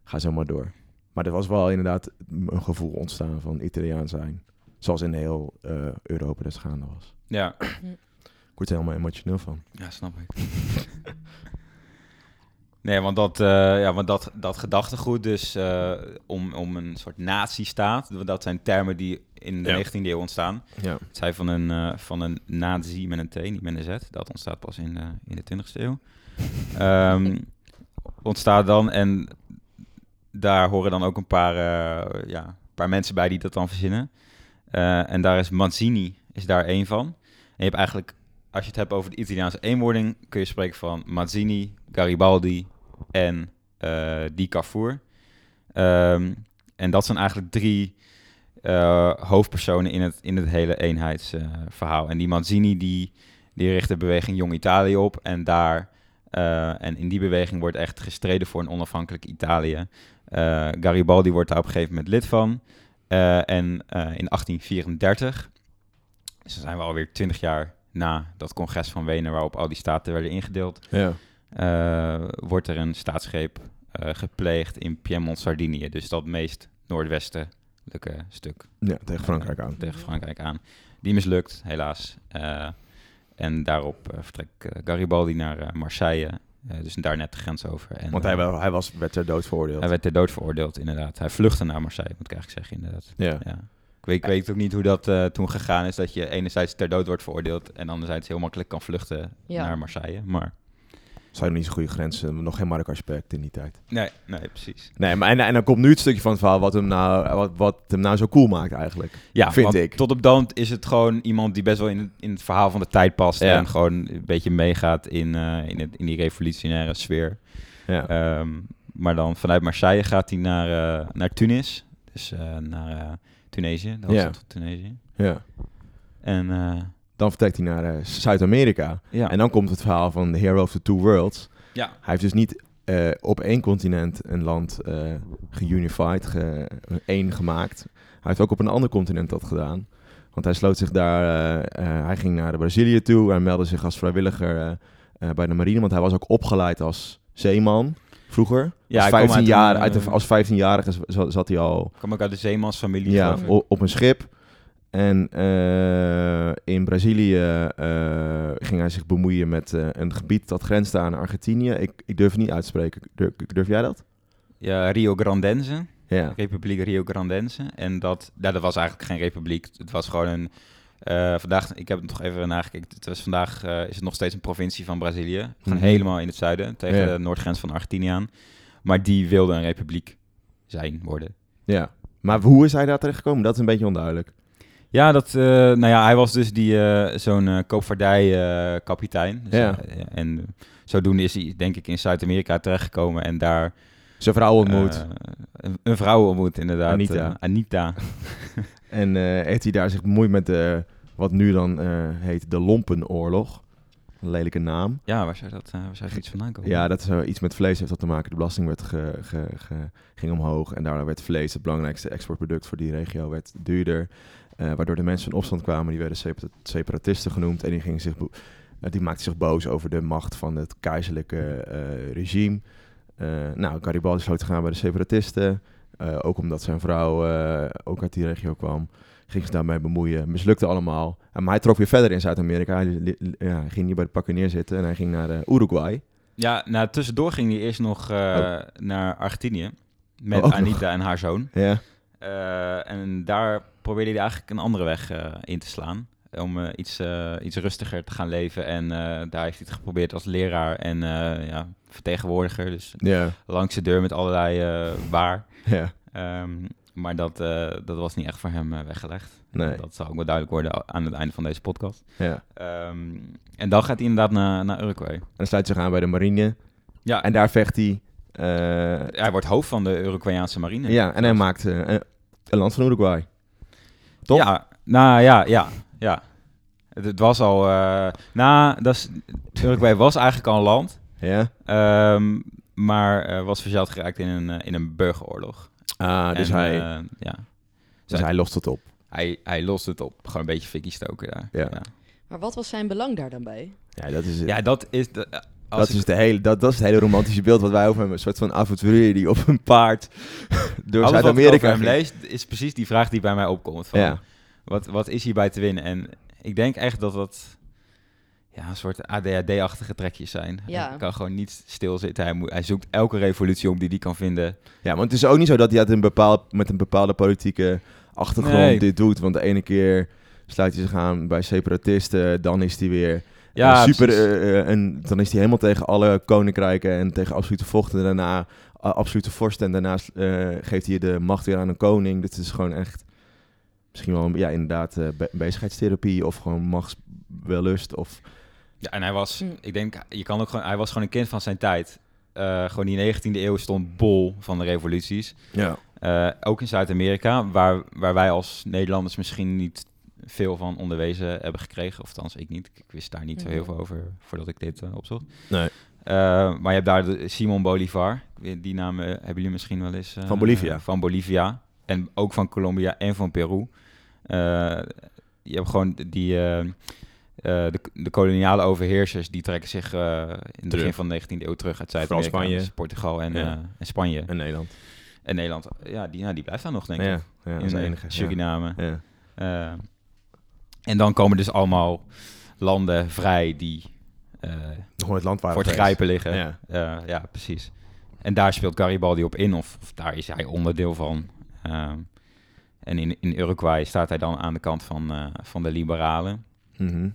[SPEAKER 1] ga zo maar door. Maar er was wel inderdaad een gevoel ontstaan van Italiaan zijn. Zoals in heel eh, Europa dus gaande was.
[SPEAKER 2] ja.
[SPEAKER 1] Ik word er helemaal emotioneel van.
[SPEAKER 2] Ja, snap ik. [LAUGHS] nee, want dat, eh, ja, want dat, dat gedachtegoed dus eh, om, om een soort nazistaat, want dat zijn termen die in de
[SPEAKER 1] Ja.
[SPEAKER 2] 19e eeuw ontstaan.
[SPEAKER 1] Ja.
[SPEAKER 2] Het zijn van een, eh, van een nazi met een T, niet met een Z. Dat ontstaat pas in de, in de 20e eeuw. Ehm, ontstaat dan en daar horen dan ook een paar, eh, ja, een paar mensen bij die dat dan verzinnen. Eh, en daar is Manzini is daar één van. En je hebt eigenlijk, als je het hebt over de Italiaanse eenwording, kun je spreken van Mazzini, Garibaldi en eh, Di Carrefour. Ehm, en dat zijn eigenlijk drie eh, hoofdpersonen in het, in het hele eenheidsverhaal. en die Mazzini, die, die richt de beweging Jong Italië op. En, daar, eh, en in die beweging wordt echt gestreden voor een onafhankelijk Italië. Eh, Garibaldi wordt daar op een gegeven moment lid van. Eh, en eh, in 1834, dus dan zijn we alweer 20 jaar na dat congres van Wenen, waarop al die staten werden ingedeeld,
[SPEAKER 1] Ja.
[SPEAKER 2] eh, wordt er een staatsgreep eh, gepleegd in Piemont-Sardinië. Dus dat meest noordwestelijke stuk
[SPEAKER 1] tegen Frankrijk aan.
[SPEAKER 2] tegen Frankrijk aan. Die mislukt, helaas. Eh, En daarop eh, vertrekt eh, Garibaldi naar eh, Marseille. Eh, dus daar net de grens over. En,
[SPEAKER 1] Want
[SPEAKER 2] eh,
[SPEAKER 1] hij, wel- hij was, werd ter dood veroordeeld.
[SPEAKER 2] hij werd ter dood veroordeeld, inderdaad. Hij vluchtte naar Marseille, moet ik eigenlijk zeggen, inderdaad.
[SPEAKER 1] ja.
[SPEAKER 2] Ja. Ik weet, ik weet ook niet hoe dat eh, toen gegaan is, dat je enerzijds ter dood wordt veroordeeld en anderzijds heel makkelijk kan vluchten
[SPEAKER 3] Ja.
[SPEAKER 2] naar Marseille. Maar
[SPEAKER 1] Zijn niet zo'n goede grenzen, nog geen markaaspect in die tijd.
[SPEAKER 2] nee, nee, precies.
[SPEAKER 1] Nee, maar en, en dan komt nu het stukje van het verhaal wat hem nou, wat, wat hem nou zo cool maakt eigenlijk.
[SPEAKER 2] Ja,
[SPEAKER 1] Vind
[SPEAKER 2] want
[SPEAKER 1] ik.
[SPEAKER 2] Tot op dan is het gewoon iemand die best wel in het, in het verhaal van de tijd past.
[SPEAKER 1] Ja.
[SPEAKER 2] En gewoon een beetje meegaat in, eh, in, het, in die revolutionaire sfeer.
[SPEAKER 1] Ja.
[SPEAKER 2] Ehm, maar dan vanuit Marseille gaat hij naar, eh, naar Tunis. Dus eh, naar eh, Tunesië, de hoofdstad
[SPEAKER 1] Ja.
[SPEAKER 2] van Tunesië.
[SPEAKER 1] ja.
[SPEAKER 2] En eh,
[SPEAKER 1] Dan vertrekt hij naar eh, Zuid-Amerika.
[SPEAKER 2] ja.
[SPEAKER 1] En dan komt het verhaal van The Hero of the Two Worlds.
[SPEAKER 2] Ja.
[SPEAKER 1] Hij heeft dus niet eh, op één continent een land eh geunified, ge, één gemaakt. Hij heeft ook op een ander continent dat gedaan. Want hij sloot zich daar, eh, eh, hij ging naar Brazilië toe. Hij meldde zich als vrijwilliger eh, eh, bij de marine, want hij was ook opgeleid als zeeman vroeger.
[SPEAKER 2] Ja,
[SPEAKER 1] als
[SPEAKER 2] hij kwam
[SPEAKER 1] 15
[SPEAKER 2] uit
[SPEAKER 1] jaar,
[SPEAKER 2] een,
[SPEAKER 1] uit de,
[SPEAKER 2] eh,
[SPEAKER 1] als 15-jarige z- zat, zat hij al
[SPEAKER 2] kwam ook uit de zeemansfamilie.
[SPEAKER 1] ja,
[SPEAKER 2] geloof ik.
[SPEAKER 1] o- op een schip. En eh, in Brazilië eh, ging hij zich bemoeien met eh, een gebied dat grenst aan Argentinië. Ik, ik durf het niet uitspreken. Durf, durf jij dat?
[SPEAKER 2] Ja, Rio Grandense.
[SPEAKER 1] Ja.
[SPEAKER 2] Republiek Rio Grandense. En dat, nou, dat was eigenlijk geen republiek. Het was gewoon een. eh, vandaag, ik heb het nog even nagekeken. Het was vandaag eh, is het nog steeds een provincie van Brazilië. Gewoon
[SPEAKER 1] Mhm.
[SPEAKER 2] helemaal in het zuiden, tegen
[SPEAKER 1] Ja.
[SPEAKER 2] de noordgrens van Argentinië aan. Maar die wilde een republiek zijn worden.
[SPEAKER 1] ja. Maar hoe is hij daar terecht gekomen? Dat is een beetje onduidelijk.
[SPEAKER 2] Ja, dat, eh, nou ja, hij was dus die, eh, zo'n eh koopvaardij-kapitein.
[SPEAKER 1] Ja.
[SPEAKER 2] Dus, eh, en zodoende is hij, denk ik, in Zuid-Amerika terechtgekomen en daar
[SPEAKER 1] Zijn vrouw ontmoet.
[SPEAKER 2] Eh, een, een vrouw ontmoet, inderdaad.
[SPEAKER 1] Anita.
[SPEAKER 2] Eh, Anita.
[SPEAKER 1] en eh, heeft hij daar zich bemoeid met eh, wat nu dan eh, heet de Lompenoorlog. Een lelijke naam.
[SPEAKER 2] Ja, waar zou dat eh, waar zou dat iets vandaan komen?
[SPEAKER 1] Ja, dat is eh, iets met vlees heeft dat te maken. De belasting werd ge, ge- ge- ging omhoog en daardoor werd vlees het belangrijkste exportproduct voor die regio werd duurder. Eh, waardoor de mensen in opstand kwamen, die werden separ- separatisten genoemd en die, gingen zich bo- eh, die maakten zich boos over de macht van het keizerlijke eh, regime. Eh, nou, Garibaldi sloot te gaan bij de separatisten, Eh, ook omdat zijn vrouw eh, ook uit die regio kwam. Ging ze daarmee bemoeien, mislukte allemaal. Eh, Maar hij trok weer verder in Zuid-Amerika. Hij li- li- ja, hij ging niet bij de pakken neerzitten en hij ging naar eh, Uruguay.
[SPEAKER 2] ja, nou, tussendoor ging hij eerst nog eh, naar Argentinië. Met
[SPEAKER 1] Oh, ook
[SPEAKER 2] Anita en haar zoon.
[SPEAKER 1] Ja.
[SPEAKER 2] Eh, en daar probeerde hij eigenlijk een andere weg eh, in te slaan. Om eh, iets, eh, iets rustiger te gaan leven. En eh, daar heeft hij het geprobeerd als leraar en eh, ja, vertegenwoordiger. Dus
[SPEAKER 1] Ja,
[SPEAKER 2] langs de deur met allerlei eh, waar.
[SPEAKER 1] ja.
[SPEAKER 2] Ehm, maar dat, eh, dat was niet echt voor hem eh, weggelegd.
[SPEAKER 1] Nee.
[SPEAKER 2] Dat zal ook wel duidelijk worden aan het einde van deze podcast.
[SPEAKER 1] ja. En
[SPEAKER 2] Ehm, en dan gaat hij inderdaad naar, naar Uruguay.
[SPEAKER 1] dan sluit hij zich aan bij de marine.
[SPEAKER 2] Ja,
[SPEAKER 1] En
[SPEAKER 2] en
[SPEAKER 1] daar vecht hij. eh,
[SPEAKER 2] hij wordt hoofd van de Uruguayaanse marine.
[SPEAKER 1] ja, en hij maakt eh, eh, een land van Uruguay. toch?
[SPEAKER 2] Ja, nou ja, ja, ja. Het, het was al... eh nou, dat is, Uruguay was eigenlijk al een land,
[SPEAKER 1] Ja.
[SPEAKER 2] ehm, maar eh, was verzeild geraakt in een, eh, in een burgeroorlog.
[SPEAKER 1] Ah, dus,
[SPEAKER 2] En,
[SPEAKER 1] hij,
[SPEAKER 2] eh, ja,
[SPEAKER 1] dus hij lost het op.
[SPEAKER 2] hij, hij lost het op. Gewoon een beetje fikkie stoken daar.
[SPEAKER 1] Ja.
[SPEAKER 2] ja.
[SPEAKER 3] Maar wat was zijn belang daar dan bij?
[SPEAKER 1] Ja, dat is het.
[SPEAKER 2] Ja, dat is... De, eh, als
[SPEAKER 1] dat,
[SPEAKER 2] ik-
[SPEAKER 1] is de hele, dat, dat is het hele romantische beeld wat wij over hem Een soort van avonturier die op een paard [LAUGHS] door
[SPEAKER 2] alles wat ik over
[SPEAKER 1] Zuid-Amerika
[SPEAKER 2] hem
[SPEAKER 1] ging.
[SPEAKER 2] lees, is precies die vraag die bij mij opkomt. Van,
[SPEAKER 1] Ja,
[SPEAKER 2] wat, wat is hierbij te winnen? En ik denk echt dat dat ja, een soort ADHD-achtige trekjes zijn.
[SPEAKER 3] Ja.
[SPEAKER 2] Hij kan gewoon niet stilzitten. Hij, moet, hij zoekt elke revolutie om die hij kan vinden.
[SPEAKER 1] ja, want het is ook niet zo dat hij uit een bepaald, met een bepaalde politieke achtergrond
[SPEAKER 2] Nee.
[SPEAKER 1] dit doet. Want de ene keer sluit hij zich aan bij separatisten, dan is hij weer Ja,
[SPEAKER 2] Ja,
[SPEAKER 1] super.
[SPEAKER 2] precies.
[SPEAKER 1] eh, eh, en dan is hij helemaal tegen alle koninkrijken en tegen absolute vochten. En daarna eh, absolute vorsten. En daarnaast eh, geeft hij de macht weer aan een koning. Dit is gewoon echt. Misschien wel, een- ja, inderdaad, eh, be- bezigheidstherapie of gewoon machtswellust. Of,
[SPEAKER 2] ja, en hij was,
[SPEAKER 3] Mm.
[SPEAKER 2] ik denk, je kan ook gewoon, hij was gewoon een kind van zijn tijd. Eh, gewoon die 19e eeuw stond bol van de revoluties.
[SPEAKER 1] ja.
[SPEAKER 2] Eh, ook in Zuid-Amerika, waar, waar wij als Nederlanders misschien niet veel van onderwezen hebben gekregen. Of althans, ik niet. Ik wist daar niet zo heel
[SPEAKER 3] Mhm.
[SPEAKER 2] veel over voordat ik dit eh, opzocht.
[SPEAKER 1] Nee.
[SPEAKER 2] Eh, maar je hebt daar de Simon Bolivar. Die naam eh, hebben jullie misschien wel eens. eh,
[SPEAKER 1] Van Bolivia.
[SPEAKER 2] Van Bolivia. En ook van Colombia en van Peru. Eh, je hebt gewoon die... eh, eh, de, de koloniale overheersers die trekken zich eh, in het
[SPEAKER 1] Terug.
[SPEAKER 2] begin van de 19e eeuw terug uit
[SPEAKER 1] Vooral
[SPEAKER 2] Zuid-Amerika,
[SPEAKER 1] Spanje.
[SPEAKER 2] dus Portugal en,
[SPEAKER 1] Ja.
[SPEAKER 2] eh, en Spanje.
[SPEAKER 1] In Nederland.
[SPEAKER 2] En Nederland, ja, die, ja, die blijft daar nog, denk
[SPEAKER 1] Ja,
[SPEAKER 2] ik.
[SPEAKER 1] ja, dat is
[SPEAKER 2] In,
[SPEAKER 1] de
[SPEAKER 2] eh,
[SPEAKER 1] enige. ja.
[SPEAKER 2] Suriname.
[SPEAKER 1] Ja.
[SPEAKER 2] Eh, en dan komen dus allemaal landen vrij die eh,
[SPEAKER 1] Gewoon het land waar
[SPEAKER 2] voor
[SPEAKER 1] het
[SPEAKER 2] het
[SPEAKER 1] feest.
[SPEAKER 2] grijpen liggen.
[SPEAKER 1] Ja.
[SPEAKER 2] Eh, ja, precies. En daar speelt Garibaldi op in, of, of daar is hij onderdeel van. Ehm, en in, in Uruguay staat hij dan aan de kant van, eh, van de liberalen.
[SPEAKER 1] Mhm.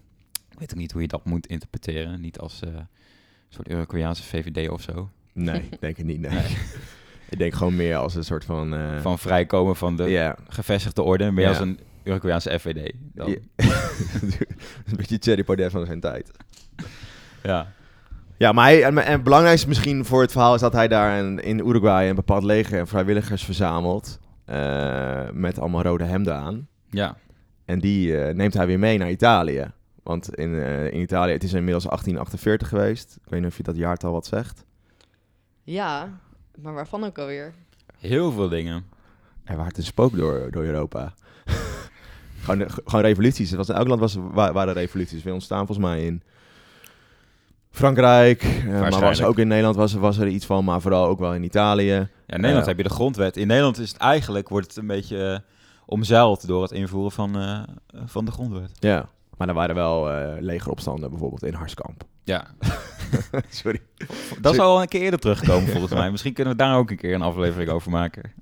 [SPEAKER 2] Ik weet ook niet hoe je dat moet interpreteren. Niet als eh, een soort Uruguayaanse VVD of zo.
[SPEAKER 1] [LAUGHS] Nee, ik denk het niet. Nee.
[SPEAKER 2] Nee.
[SPEAKER 1] ik denk gewoon meer als een soort van... eh,
[SPEAKER 2] Van vrijkomen van de
[SPEAKER 1] ja,
[SPEAKER 2] gevestigde orde, meer
[SPEAKER 1] Ja.
[SPEAKER 2] als een Uruguayaanse FVD. Dan.
[SPEAKER 1] Ja.
[SPEAKER 2] Ja.
[SPEAKER 1] [LAUGHS] een beetje Thierry Baudet van zijn tijd. Ja, maar hij, en, en het belangrijkste misschien voor het verhaal is dat hij daar een, in Uruguay een bepaald leger en vrijwilligers verzamelt. eh, met allemaal rode hemden aan.
[SPEAKER 2] Ja.
[SPEAKER 1] En die eh, neemt hij weer mee naar Italië. Want in, eh, in Italië, het is inmiddels 1848 geweest. Ik weet niet of je dat jaartal wat zegt.
[SPEAKER 3] Ja, maar waarvan ook alweer?
[SPEAKER 2] Heel veel dingen.
[SPEAKER 1] Er waart een spook door, door Europa. [LAUGHS] gewoon, gewoon revoluties. Het was, in elk land was, wa- waren revoluties. We ontstaan volgens mij in Frankrijk. eh, maar was
[SPEAKER 2] Waarschijnlijk.
[SPEAKER 1] ook in Nederland was, er- was er iets van. Maar vooral ook wel in Italië.
[SPEAKER 2] Ja, in Nederland
[SPEAKER 1] Ja.
[SPEAKER 2] heb je de grondwet. In Nederland is het eigenlijk, wordt het een beetje eh, omzeild door het invoeren van, eh, van de grondwet.
[SPEAKER 1] Ja. Maar er waren wel eh, legeropstanden bijvoorbeeld in Harskamp. [LAUGHS]
[SPEAKER 2] Ja,
[SPEAKER 1] Sorry.
[SPEAKER 2] dat zou al een keer eerder terugkomen [LAUGHS] volgens mij. Misschien kunnen we daar ook een keer een aflevering over maken.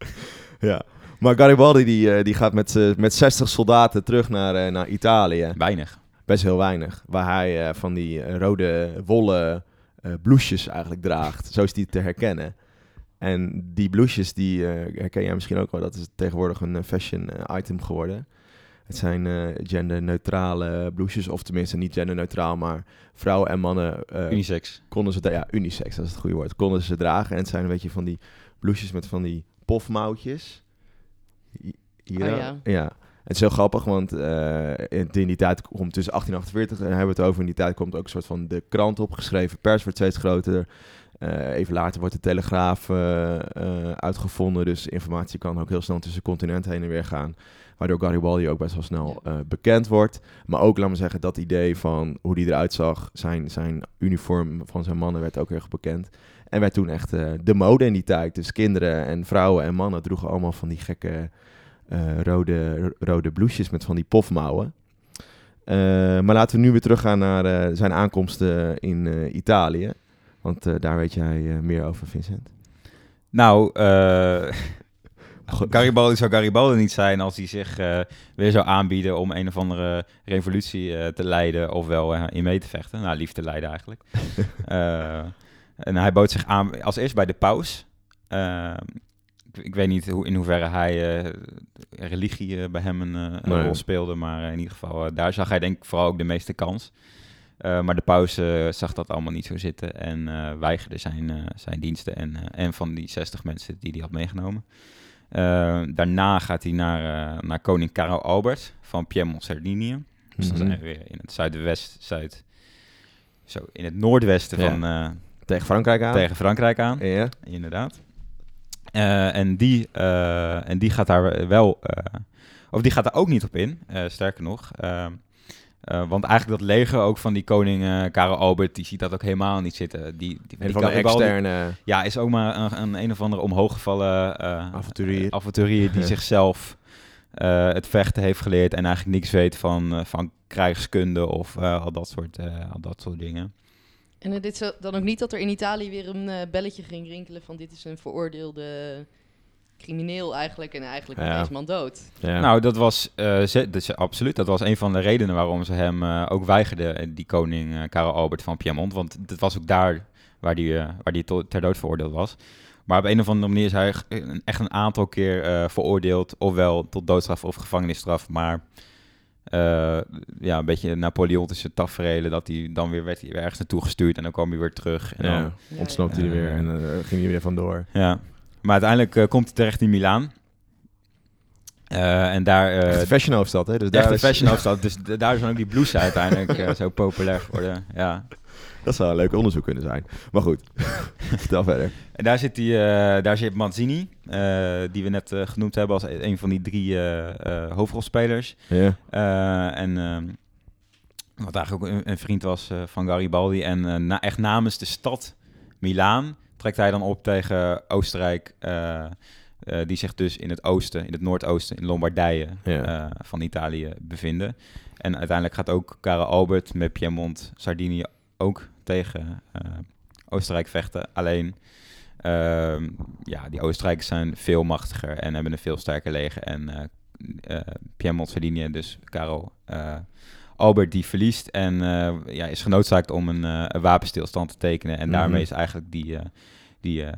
[SPEAKER 1] Ja. Maar Garibaldi die, eh, die gaat met, eh, met 60 soldaten terug naar, eh, naar Italië.
[SPEAKER 2] Weinig.
[SPEAKER 1] Best heel weinig. Waar hij eh, van die eh, rode wollen eh blouses eigenlijk draagt. Zo is die te herkennen. En die blouses, die eh, herken jij misschien ook wel. Dat is tegenwoordig een eh, fashion eh, item geworden. Het zijn eh, genderneutrale blouses. Of tenminste niet genderneutraal, maar vrouwen en mannen eh,
[SPEAKER 2] Unisex.
[SPEAKER 1] konden ze... dra- Ja, unisex, dat is het goede woord. Konden ze dragen. En het zijn een beetje van die blouses met van die pofmouwtjes. Hi- Hier,
[SPEAKER 3] Oh ja.
[SPEAKER 1] ja. Het is heel grappig, want eh, in in die tijd komt tussen 1848 en hebben we het over. In die tijd komt ook een soort van de krant opgeschreven. Pers wordt steeds groter. Eh, even later wordt de telegraaf eh, eh, uitgevonden. Dus informatie kan ook heel snel tussen continent heen en weer gaan. Waardoor Garibaldi ook best wel snel eh, bekend wordt. Maar ook, laat maar zeggen, dat idee van hoe die eruit zag. Zijn, zijn uniform van zijn mannen werd ook heel erg bekend. En werd toen echt eh, de mode in die tijd. Dus kinderen en vrouwen en mannen droegen allemaal van die gekke eh, rode, ro- rode blouses met van die pofmouwen. Eh, maar laten we nu weer teruggaan naar eh, zijn aankomsten in eh, Italië. Want eh, daar weet jij eh, meer over, Vincent.
[SPEAKER 2] Nou, eh, [LAUGHS] Garibaldi zou Garibaldi niet zijn als hij zich eh, weer zou aanbieden om een of andere revolutie eh, te leiden, ofwel eh, in mee te vechten. Nou, lief te leiden eigenlijk. Eh, en hij bood zich aan als eerst bij de paus. Eh, ik, ik weet niet hoe, in hoeverre hij eh, religie eh, bij hem een, eh, een
[SPEAKER 1] Nee.
[SPEAKER 2] rol speelde, maar eh, in ieder geval eh, daar zag hij denk ik vooral ook de meeste kans. Eh, maar de paus eh, zag dat allemaal niet zo zitten en eh, weigerde zijn, eh, zijn diensten en, eh, en van die 60 mensen die hij had meegenomen. Eh, daarna gaat hij naar, eh, naar koning Karel Albert van Piemont-Sardinië. Dus dan
[SPEAKER 1] Mhm.
[SPEAKER 2] zijn we weer in het zuidwest, zuid, zo in het noordwesten
[SPEAKER 1] Ja.
[SPEAKER 2] van, eh,
[SPEAKER 1] Tegen Frankrijk aan.
[SPEAKER 2] tegen Frankrijk aan,
[SPEAKER 1] Ja.
[SPEAKER 2] inderdaad. Eh, en, die, eh, en die gaat daar wel, eh, of die gaat daar ook niet op in, eh, sterker nog. Eh, eh, want eigenlijk dat leger ook van die koning eh, Karel Albert, die ziet dat ook helemaal niet zitten. Die, die, die
[SPEAKER 1] Een van de
[SPEAKER 2] Garibaldi-
[SPEAKER 1] externe
[SPEAKER 2] ja, is ook maar een een, een of andere omhooggevallen eh
[SPEAKER 1] avonturier.
[SPEAKER 2] avonturier die zichzelf eh, het vechten heeft geleerd en eigenlijk niks weet van, eh, van krijgskunde of eh, al, dat soort, eh, al dat soort dingen.
[SPEAKER 3] En eh, dit zo, dan ook niet dat er in Italië weer een eh, belletje ging rinkelen van dit is een veroordeelde crimineel eigenlijk en eigenlijk is
[SPEAKER 1] Ja.
[SPEAKER 3] deze man dood.
[SPEAKER 1] Ja.
[SPEAKER 2] Nou, dat was eh, ze- dus, absoluut. Dat was een van de redenen waarom ze hem eh, ook weigerden, eh, die koning eh, Karel Albert van Piemont. Want dat was ook daar waar die, eh, waar die to- ter dood veroordeeld was. Maar op een of andere manier is hij g- een- echt een aantal keer eh, veroordeeld. Ofwel tot doodstraf of gevangenisstraf. Maar eh, ja, een beetje Napoleontische tafereelen. Dat hij dan weer werd hij weer ergens naartoe gestuurd. En dan kwam hij weer terug. En
[SPEAKER 1] ja.
[SPEAKER 2] dan,
[SPEAKER 3] Ja,
[SPEAKER 1] Ontsnapt hij er weer en eh, ging hij weer vandoor.
[SPEAKER 2] ja. Maar uiteindelijk eh, komt hij terecht in Milaan. Eh, en daar... eh,
[SPEAKER 1] Echt een fashion hoofdstad, hè? Dus
[SPEAKER 2] echt
[SPEAKER 1] daar
[SPEAKER 2] een
[SPEAKER 1] is-
[SPEAKER 2] fashion hoofdstad. Dus d- daar zijn ook die blouses uiteindelijk eh, zo populair geworden. Ja.
[SPEAKER 1] [LAUGHS] Dat zou een leuk onderzoek kunnen zijn. Maar goed, [LAUGHS] vertel verder.
[SPEAKER 2] En daar zit, die, eh, daar zit Manzini, eh, die we net eh, genoemd hebben als e- een van die drie eh, eh, hoofdrolspelers.
[SPEAKER 1] Ja.
[SPEAKER 2] Eh, en ehm, wat eigenlijk ook een, een vriend was eh, van Garibaldi. En eh, na, echt namens de stad Milaan trekt hij dan op tegen Oostenrijk, eh, eh, die zich dus in het oosten, in het noordoosten, in Lombardije
[SPEAKER 1] Ja.
[SPEAKER 2] eh, van Italië bevinden. En uiteindelijk gaat ook Karel Albert met Piemont, Sardinië ook tegen eh, Oostenrijk vechten. Alleen, ehm, ja, die Oostenrijkers zijn veel machtiger en hebben een veel sterker leger. En eh eh, Piemont, Sardinië, dus Karel eh, Albert, die verliest en eh, ja, is genoodzaakt om een, eh, een wapenstilstand te tekenen. En
[SPEAKER 1] Mhm.
[SPEAKER 2] daarmee is eigenlijk die, eh, die eh,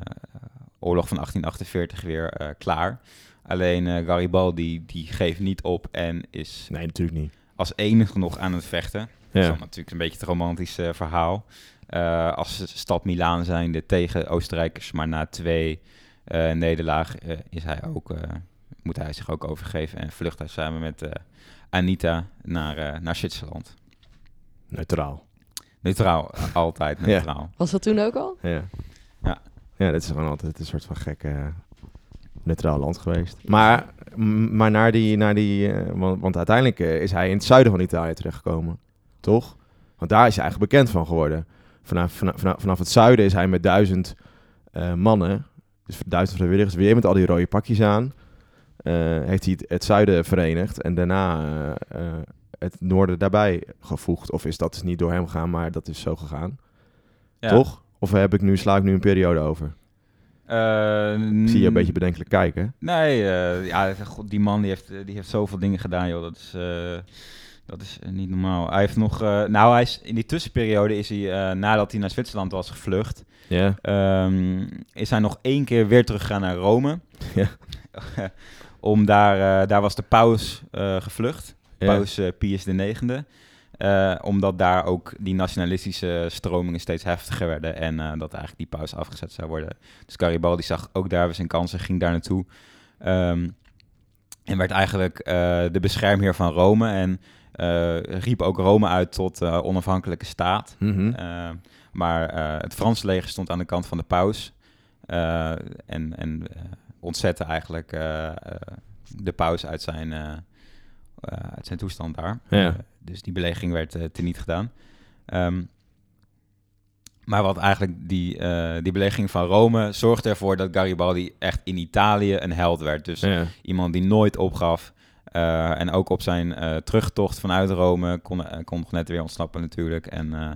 [SPEAKER 2] oorlog van 1848 weer eh, klaar. Alleen eh, Garibaldi die geeft niet op en is
[SPEAKER 1] Nee, natuurlijk niet.
[SPEAKER 2] als enige nog aan het vechten. Dat is
[SPEAKER 1] Ja.
[SPEAKER 2] dan natuurlijk een beetje het romantisch eh, verhaal. Eh, als ze stad Milaan zijnde tegen Oostenrijkers, maar na twee eh nederlagen eh, is hij ook, eh, moet hij zich ook overgeven en vlucht hij samen met eh, Anita naar, eh, naar Zwitserland.
[SPEAKER 1] Neutraal.
[SPEAKER 2] Neutraal, eh, altijd
[SPEAKER 1] Ja.
[SPEAKER 2] neutraal.
[SPEAKER 3] Was dat toen ook al?
[SPEAKER 1] Ja.
[SPEAKER 2] Ja.
[SPEAKER 1] Ja, dat is gewoon altijd een soort van gekke eh, neutraal land geweest. Maar, m- maar naar die, naar die eh, want, want uiteindelijk eh, is hij in het zuiden van Italië terechtgekomen, toch? Want daar is hij eigenlijk bekend van geworden. Vanaf, vanaf, vanaf- vanaf het zuiden is hij met duizend eh, mannen, dus duizend vrijwilligers, weer met al die rode pakjes aan, eh, heeft hij het, het zuiden verenigd en daarna eh, eh, het noorden daarbij gevoegd. Of is dat dus niet door hem gegaan, maar dat is zo gegaan.
[SPEAKER 2] Ja.
[SPEAKER 1] Toch? Of heb ik nu, sla ik nu een periode over?
[SPEAKER 2] Eh,
[SPEAKER 1] Ik zie je een
[SPEAKER 2] mm,
[SPEAKER 1] beetje bedenkelijk kijken.
[SPEAKER 2] Nee, eh, ja, god, die man die heeft, eh, die heeft zoveel dingen gedaan, joh. Dat is, eh, dat is eh, niet normaal. Hij heeft nog, eh, nou, hij is, in die tussenperiode is hij, eh, nadat hij naar Zwitserland was gevlucht,
[SPEAKER 1] Ja.
[SPEAKER 2] ehm, is hij nog één keer weer teruggegaan naar Rome.
[SPEAKER 1] [LAUGHS] Ja.
[SPEAKER 2] [LAUGHS] Om daar, eh, daar was de paus eh, gevlucht,
[SPEAKER 1] ja.
[SPEAKER 2] paus eh, Pius IX. Eh omdat daar ook die nationalistische stromingen steeds heftiger werden en eh, dat eigenlijk die paus afgezet zou worden. Dus Garibaldi zag ook daar weer zijn kansen, ging daar naartoe. Ehm, en werd eigenlijk eh, de beschermheer van Rome en eh, riep ook Rome uit tot eh, onafhankelijke staat.
[SPEAKER 1] Mhm.
[SPEAKER 2] Eh, maar eh, het Franse leger stond aan de kant van de paus. eh, en en eh, ontzette eigenlijk eh, eh, de paus uit zijn, eh, eh, uit zijn toestand daar.
[SPEAKER 1] Ja.
[SPEAKER 2] Eh, dus die belegering werd eh, teniet gedaan. Ehm, maar wat eigenlijk die, eh, die belegering van Rome zorgde ervoor dat Garibaldi echt in Italië een held werd. Dus
[SPEAKER 1] ja.
[SPEAKER 2] iemand die nooit opgaf. Eh, en ook op zijn eh, terugtocht vanuit Rome kon, eh, kon nog net weer ontsnappen natuurlijk. En eh,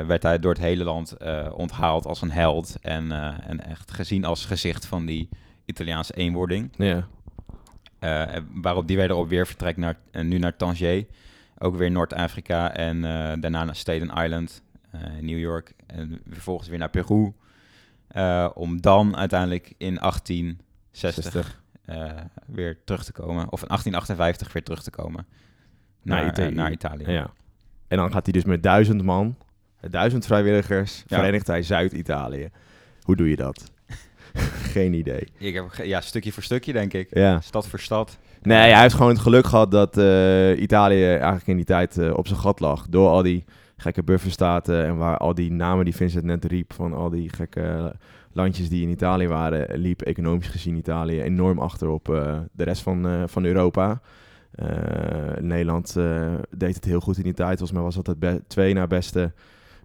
[SPEAKER 2] eh, werd hij door het hele land eh, onthaald als een held. En, eh, en echt gezien als gezicht van die Italiaanse eenwording.
[SPEAKER 1] Ja.
[SPEAKER 2] Eh, waarop die wederop weer vertrekt naar, en nu naar Tangier. Ook weer Noord-Afrika. En eh, daarna naar Staten Island, eh, in New York. En vervolgens weer naar Peru. Eh, om dan uiteindelijk in 1860 eh, weer terug te komen. Of in 1858 weer terug te komen.
[SPEAKER 1] Naar
[SPEAKER 2] Naar, eh,
[SPEAKER 1] Italië.
[SPEAKER 2] naar Italië.
[SPEAKER 1] Ja. En dan gaat hij dus met duizend man, duizend vrijwilligers,
[SPEAKER 2] Ja.
[SPEAKER 1] verenigt hij Zuid-Italië. Hoe doe je
[SPEAKER 2] [LAUGHS]
[SPEAKER 1] dat? Geen idee.
[SPEAKER 2] Ik heb, ge- ja, stukje voor stukje, denk ik.
[SPEAKER 1] Ja.
[SPEAKER 2] Stad voor stad.
[SPEAKER 1] Nee, hij heeft gewoon het geluk gehad dat eh, Italië eigenlijk in die tijd eh, op zijn gat lag. Door al die gekke bufferstaten en waar al die namen die Vincent net riep van al die gekke landjes die in Italië waren, eh, liep economisch gezien Italië enorm achter op eh, de rest van, eh, van Europa. Eh, Nederland eh, deed het heel goed in die tijd. Volgens mij was dat het be- twee na beste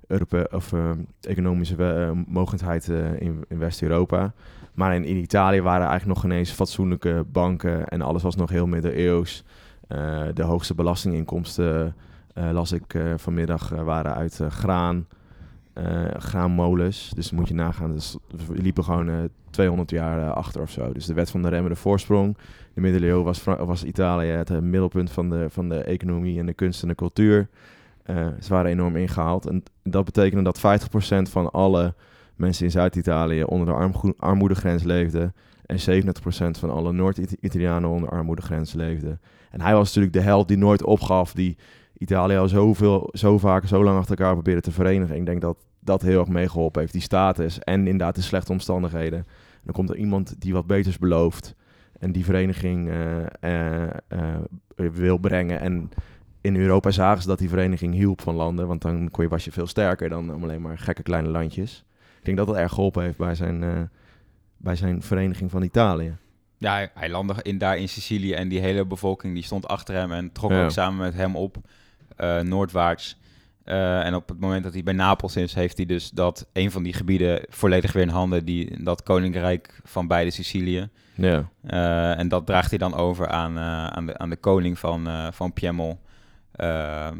[SPEAKER 1] Europe of, eh, economische we- eh, mogendheid eh, in, in West-Europa. Maar in, in Italië waren eigenlijk nog ineens fatsoenlijke banken en alles was nog heel middeleeuws. Eh, de hoogste belastinginkomsten, eh, las ik eh, vanmiddag, eh, waren uit eh, graan, eh, graanmolens. Dus moet je nagaan, dus we liepen gewoon eh, 200 jaar eh, achter of zo. Dus de wet van de remmende voorsprong. De middeleeuwen was, Fra- was Italië het eh, middelpunt van de, van de economie en de kunst en de cultuur. Eh, ze waren enorm ingehaald. En dat betekende dat 50% van alle mensen in Zuid-Italië onder de armgo- armoedegrens leefden. En 70% van alle Noord-Italianen onder de armoedegrens leefden. En hij was natuurlijk de held die nooit opgaf, die Italië al zoveel, zo vaak, zo lang achter elkaar probeerde te verenigen. Ik denk dat dat heel erg meegeholpen heeft, die status en inderdaad de slechte omstandigheden. En dan komt er iemand die wat beters belooft en die vereniging eh, eh, eh, wil brengen. En in Europa zagen ze dat die vereniging hielp van landen, want dan kon je, was je veel sterker dan om alleen maar gekke kleine landjes. Ik denk dat dat erg geholpen heeft bij zijn, eh, bij zijn vereniging van Italië.
[SPEAKER 2] Ja, hij- hij landde in, daar in Sicilië en die hele bevolking die stond achter hem en trok
[SPEAKER 1] Ja.
[SPEAKER 2] ook samen met hem op eh, noordwaarts. Eh, en op het moment dat hij bij Napels is, heeft hij dus dat een van die gebieden volledig weer in handen, die, dat koninkrijk van beide Sicilië.
[SPEAKER 1] Ja.
[SPEAKER 2] Eh, en dat draagt hij dan over aan, eh, aan, de, aan de koning van, eh van Piemol, eh, eh,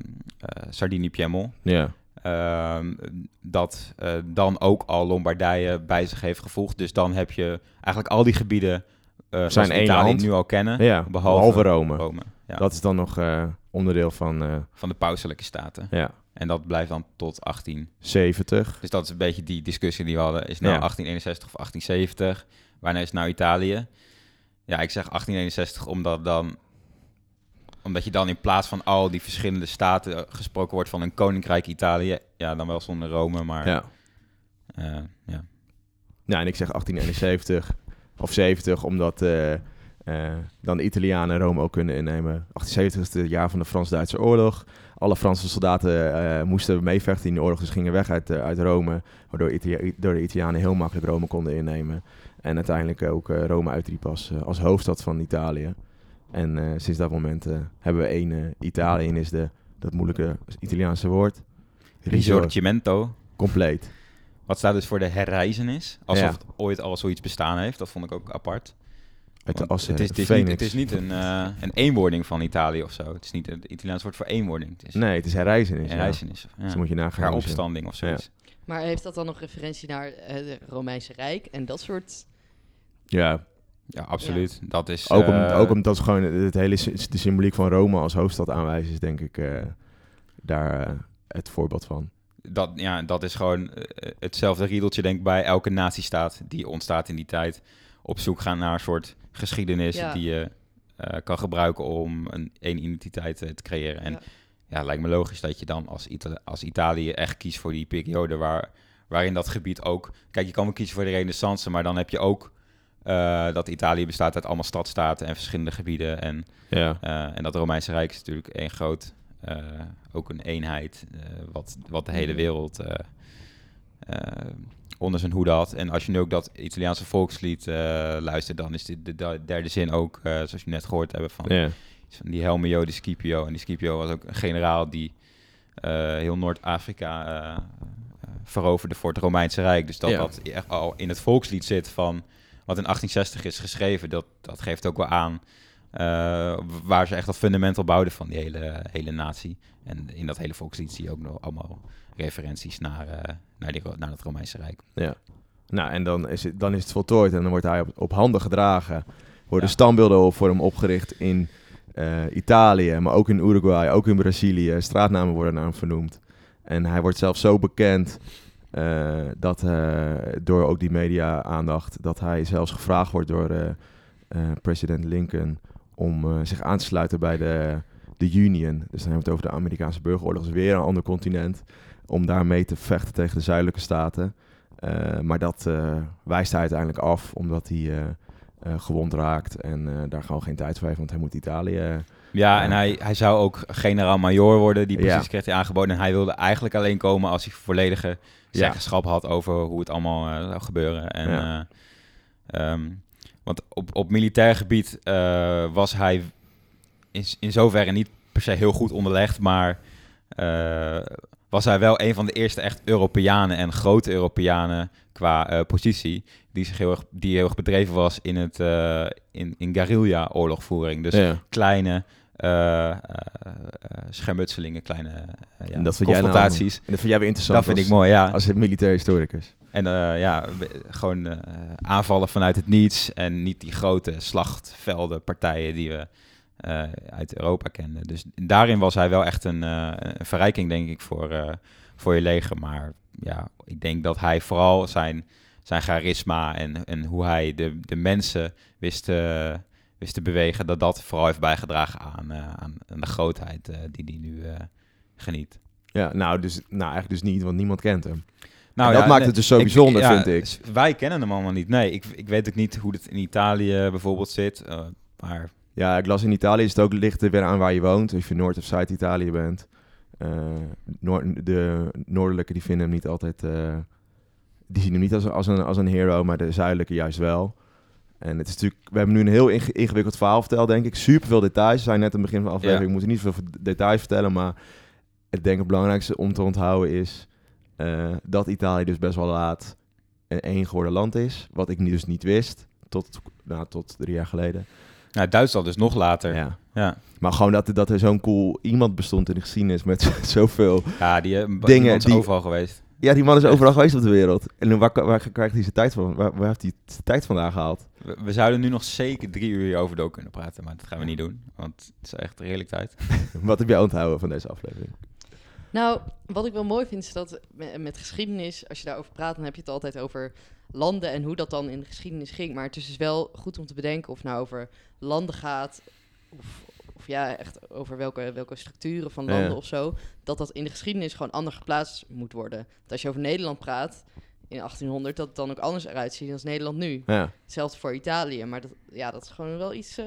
[SPEAKER 2] Sardinië Piemol.
[SPEAKER 1] Ja.
[SPEAKER 2] Ehm, dat eh, dan ook al Lombardije bij zich heeft gevoegd. Dus dan heb je eigenlijk al die gebieden eh zoals we
[SPEAKER 1] één
[SPEAKER 2] Italië
[SPEAKER 1] land.
[SPEAKER 2] nu al kennen,
[SPEAKER 1] ja.
[SPEAKER 2] behalve-
[SPEAKER 1] Behalve Rome.
[SPEAKER 2] Rome. Ja,
[SPEAKER 1] Dat is dan nog eh, onderdeel van eh,
[SPEAKER 2] Van de pauselijke staten.
[SPEAKER 1] ja,
[SPEAKER 2] En dat blijft dan tot 18.
[SPEAKER 1] 70.
[SPEAKER 2] Dus dat is een beetje die discussie die we hadden. Is nou
[SPEAKER 1] Ja.
[SPEAKER 2] 1861 of 1870? Wanneer is nou Italië? Ja, ik zeg 1861 omdat dan omdat je dan in plaats van al die verschillende staten eh, gesproken wordt van een koninkrijk Italië. Ja, dan wel zonder Rome, maar
[SPEAKER 1] Ja.
[SPEAKER 2] eh, ja.
[SPEAKER 1] Nou, en ik zeg 1871 of 70, omdat eh, eh, dan de Italianen Rome ook kunnen innemen. 1870 is het jaar van de Frans-Duitse oorlog. Alle Franse soldaten eh, moesten meevechten in de oorlog, dus gingen weg uit, eh, uit Rome. Waardoor Italia- door de Italianen heel makkelijk Rome konden innemen. En uiteindelijk ook eh, Rome uitriep als, eh, als hoofdstad van Italië. En eh, sinds dat moment eh, hebben we één eh, Italië en is de, dat moeilijke Italiaanse woord. Resort.
[SPEAKER 2] Risorgimento.
[SPEAKER 1] Compleet.
[SPEAKER 2] Wat staat dus voor de herreizenis. Alsof
[SPEAKER 1] Ja.
[SPEAKER 2] het ooit al zoiets bestaan heeft. Dat vond ik ook apart.
[SPEAKER 1] Uit de
[SPEAKER 2] Want
[SPEAKER 1] assen.
[SPEAKER 2] het, is, het, is niet,
[SPEAKER 1] Phoenix.
[SPEAKER 2] het is niet een, eh, een eenwording van Italië of zo. Het is niet het Italiaans woord voor eenwording. Het is
[SPEAKER 1] Nee, het is herreizenis.
[SPEAKER 2] een
[SPEAKER 1] ja.
[SPEAKER 2] herreizenis. Ja.
[SPEAKER 1] Dus dan moet je nagaan. hoe ze-
[SPEAKER 2] Heropstanding of zoiets.
[SPEAKER 3] Maar heeft dat dan nog referentie naar eh, het Romeinse Rijk en dat soort...
[SPEAKER 1] Ja,
[SPEAKER 2] Ja, absoluut. Dat is...
[SPEAKER 1] ook, om,
[SPEAKER 2] eh,
[SPEAKER 1] ook omdat gewoon het hele sy- de symboliek van Rome als hoofdstad aanwijst, is denk ik eh, daar eh, het voorbeeld van.
[SPEAKER 2] dat, ja, dat is gewoon eh, hetzelfde riedeltje, denk ik, bij elke nazistaat die ontstaat in die tijd. Op zoek gaan naar een soort geschiedenis
[SPEAKER 3] Ja.
[SPEAKER 2] die je eh, kan gebruiken om een, een identiteit eh, te creëren. En ja.
[SPEAKER 3] Ja.
[SPEAKER 2] lijkt me logisch dat je dan als, Ita- als Italië echt kiest voor die periode waar, waarin dat gebied ook... Kijk, je kan wel kiezen voor de renaissance, maar dan heb je ook eh, dat Italië bestaat uit allemaal stadstaten en verschillende gebieden. En
[SPEAKER 1] Ja.
[SPEAKER 2] eh, en dat Romeinse Rijk is natuurlijk één groot, eh, ook een eenheid, eh, wat, wat de hele
[SPEAKER 1] Mhm.
[SPEAKER 2] wereld eh, eh, onder zijn hoede had. En als je nu ook dat Italiaanse volkslied eh, luistert, dan is dit de da- derde zin ook, eh, zoals je net gehoord hebben, van,
[SPEAKER 1] Ja.
[SPEAKER 2] is van die Helmio de Scipio. En die Scipio was ook een generaal die eh, heel Noord-Afrika eh, eh, veroverde voor het Romeinse Rijk. Dus dat
[SPEAKER 1] Ja.
[SPEAKER 2] dat echt al in het volkslied zit van wat in 1860 is geschreven, dat, dat geeft ook wel aan eh, waar ze echt dat fundamental bouwden van die hele, hele natie. En in dat hele volkslied zie je ook nog allemaal referenties naar, eh, naar, die, Ro- naar het Romeinse Rijk.
[SPEAKER 1] Nou, en dan is, het, dan is het voltooid en dan wordt hij op, op handen gedragen. Worden
[SPEAKER 2] Ja.
[SPEAKER 1] standbeelden op- voor hem opgericht in eh, Italië, maar ook in Uruguay, ook in Brazilië. Straatnamen worden naar hem vernoemd. En hij wordt zelfs zo bekend eh, dat eh, door ook die media-aandacht, dat hij zelfs gevraagd wordt door eh, eh, president Lincoln om eh, zich aan te sluiten bij de, de Union. Dus dan hebben we het over de Amerikaanse burgeroorlog, dat is weer een ander continent. Om daar mee te vechten tegen de zuidelijke staten. Eh, maar dat eh, wijst hij uiteindelijk af, omdat hij eh, eh, gewond raakt en eh, daar gewoon geen tijd voor heeft, want hij moet Italië. eh,
[SPEAKER 2] Ja,
[SPEAKER 1] Ja.
[SPEAKER 2] en hij, hij zou ook generaal-major worden, die precies
[SPEAKER 1] Ja.
[SPEAKER 2] kreeg hij aangeboden. En hij wilde eigenlijk alleen komen als hij volledige zeggenschap had over hoe het allemaal eh, zou gebeuren. En,
[SPEAKER 1] Ja.
[SPEAKER 2] eh, ehm, want op, op militair gebied eh, was hij in, in zoverre niet per se heel goed onderlegd, maar eh, was hij wel een van de eerste echt Europeanen en grote Europeanen qua eh, positie, die, zich heel erg, die heel erg bedreven was in, het, eh, in, in guerrilla-oorlogvoering. Dus
[SPEAKER 1] ja.
[SPEAKER 2] kleine eh, eh, eh, schermutselingen, kleine eh, ja,
[SPEAKER 1] En dat vind jij nou-
[SPEAKER 2] confrontaties.
[SPEAKER 1] En dat vind jij weer interessant.
[SPEAKER 2] dat vind ik
[SPEAKER 1] als,
[SPEAKER 2] mooi, ja.
[SPEAKER 1] Als militair historicus.
[SPEAKER 2] En eh, ja, we- gewoon eh, aanvallen vanuit het niets en niet die grote slachtvelden, partijen die we eh, uit Europa kenden. Dus daarin was hij wel echt een, eh, een verrijking, denk ik, voor, eh, voor je leger. Maar ja, ik denk dat hij vooral zijn, zijn charisma en, en hoe hij de, de mensen wist, eh, wist te bewegen, dat dat vooral heeft bijgedragen aan, eh, aan, aan de grootheid eh, die hij nu eh, geniet.
[SPEAKER 1] Ja, nou, dus, nou eigenlijk dus niet, want niemand kent hem.
[SPEAKER 2] Nou,
[SPEAKER 1] En dat
[SPEAKER 2] ja,
[SPEAKER 1] maakt
[SPEAKER 2] nee.
[SPEAKER 1] het dus zo
[SPEAKER 2] Ik-
[SPEAKER 1] bijzonder,
[SPEAKER 2] ja,
[SPEAKER 1] vind ik.
[SPEAKER 2] s- Wij kennen hem allemaal niet. Nee, ik, ik weet ook niet hoe het in Italië bijvoorbeeld zit. eh, maar
[SPEAKER 1] Ja, ik las in Italië is het ook ligt er weer aan waar je woont. Of je Noord- of Zuid-Italië bent. Eh, noord, de noordelijke die vinden hem niet altijd... eh, die zien hem niet als, als, een, als een hero, maar de zuidelijke juist wel. En het is natuurlijk... We hebben nu een heel inge- ingewikkeld verhaal verteld, denk ik. Super veel details. We zijn net aan het begin van de aflevering.
[SPEAKER 2] Ja.
[SPEAKER 1] We moeten niet veel details vertellen, maar... ik denk het belangrijkste om te onthouden is eh, dat Italië dus best wel laat een één geworden land is. Wat ik nu dus niet wist, tot, nou, tot drie jaar geleden.
[SPEAKER 2] Nou, Duitsland is nog later. Ja,
[SPEAKER 1] Ja.
[SPEAKER 2] ja.
[SPEAKER 1] Maar gewoon dat, dat er zo'n cool iemand bestond in de geschiedenis met [LAUGHS] zoveel...
[SPEAKER 2] die, eh, b-
[SPEAKER 1] Dingen
[SPEAKER 2] iemand is
[SPEAKER 1] die-
[SPEAKER 2] overal geweest.
[SPEAKER 1] Ja, die man is
[SPEAKER 2] Echt.
[SPEAKER 1] overal geweest op de wereld. En waar, waar krijgt hij zijn tijd van? Waar, waar heeft hij zijn tijd vandaan gehaald? [LAUGHS]
[SPEAKER 2] We, we zouden nu nog zeker drie uur hierover door kunnen praten, maar dat gaan we niet doen. Want het is echt redelijk tijd.
[SPEAKER 1] Wat heb jij onthouden van deze aflevering?
[SPEAKER 3] Nou, wat ik wel mooi vind is dat me- met geschiedenis, als je daarover praat, dan heb je het altijd over landen en hoe dat dan in de geschiedenis ging. Maar het is dus wel goed om te bedenken of het nou over landen gaat, of, of ja, echt over welke, welke structuren van landen
[SPEAKER 1] Ja.
[SPEAKER 3] of zo, dat dat in de geschiedenis gewoon anders geplaatst moet worden. Want als je over Nederland praat in 1800, dat het dan ook anders eruit ziet dan Nederland nu.
[SPEAKER 1] Ja.
[SPEAKER 3] Hetzelfde voor Italië, maar dat, ja, dat is gewoon wel iets, eh,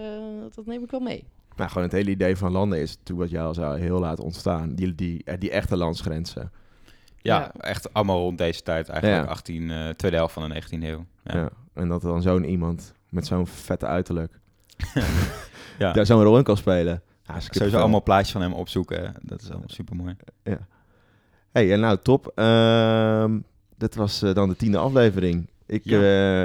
[SPEAKER 3] dat neem ik wel mee.
[SPEAKER 1] Nou, gewoon het hele idee van landen is, toen wat jij al zei, heel laat ontstaan. Die, die, eh, die echte landsgrenzen.
[SPEAKER 2] Ja,
[SPEAKER 3] Ja.
[SPEAKER 2] echt allemaal rond deze tijd. Eigenlijk
[SPEAKER 1] Ja.
[SPEAKER 2] 18, eh, tweede helft van de 19e eeuw. Ja.
[SPEAKER 1] Ja. En dat dan zo'n iemand met zo'n vette uiterlijk
[SPEAKER 2] [LAUGHS]
[SPEAKER 1] [LAUGHS]
[SPEAKER 2] Ja.
[SPEAKER 1] daar zo'n rol in kan spelen. Ja, is
[SPEAKER 2] Sowieso
[SPEAKER 1] kippenvel.
[SPEAKER 2] allemaal plaatjes van hem opzoeken. Dat is allemaal super mooi.
[SPEAKER 1] hey, en nou, top. Ehm, dit was eh, dan de tiende aflevering. Ik eh,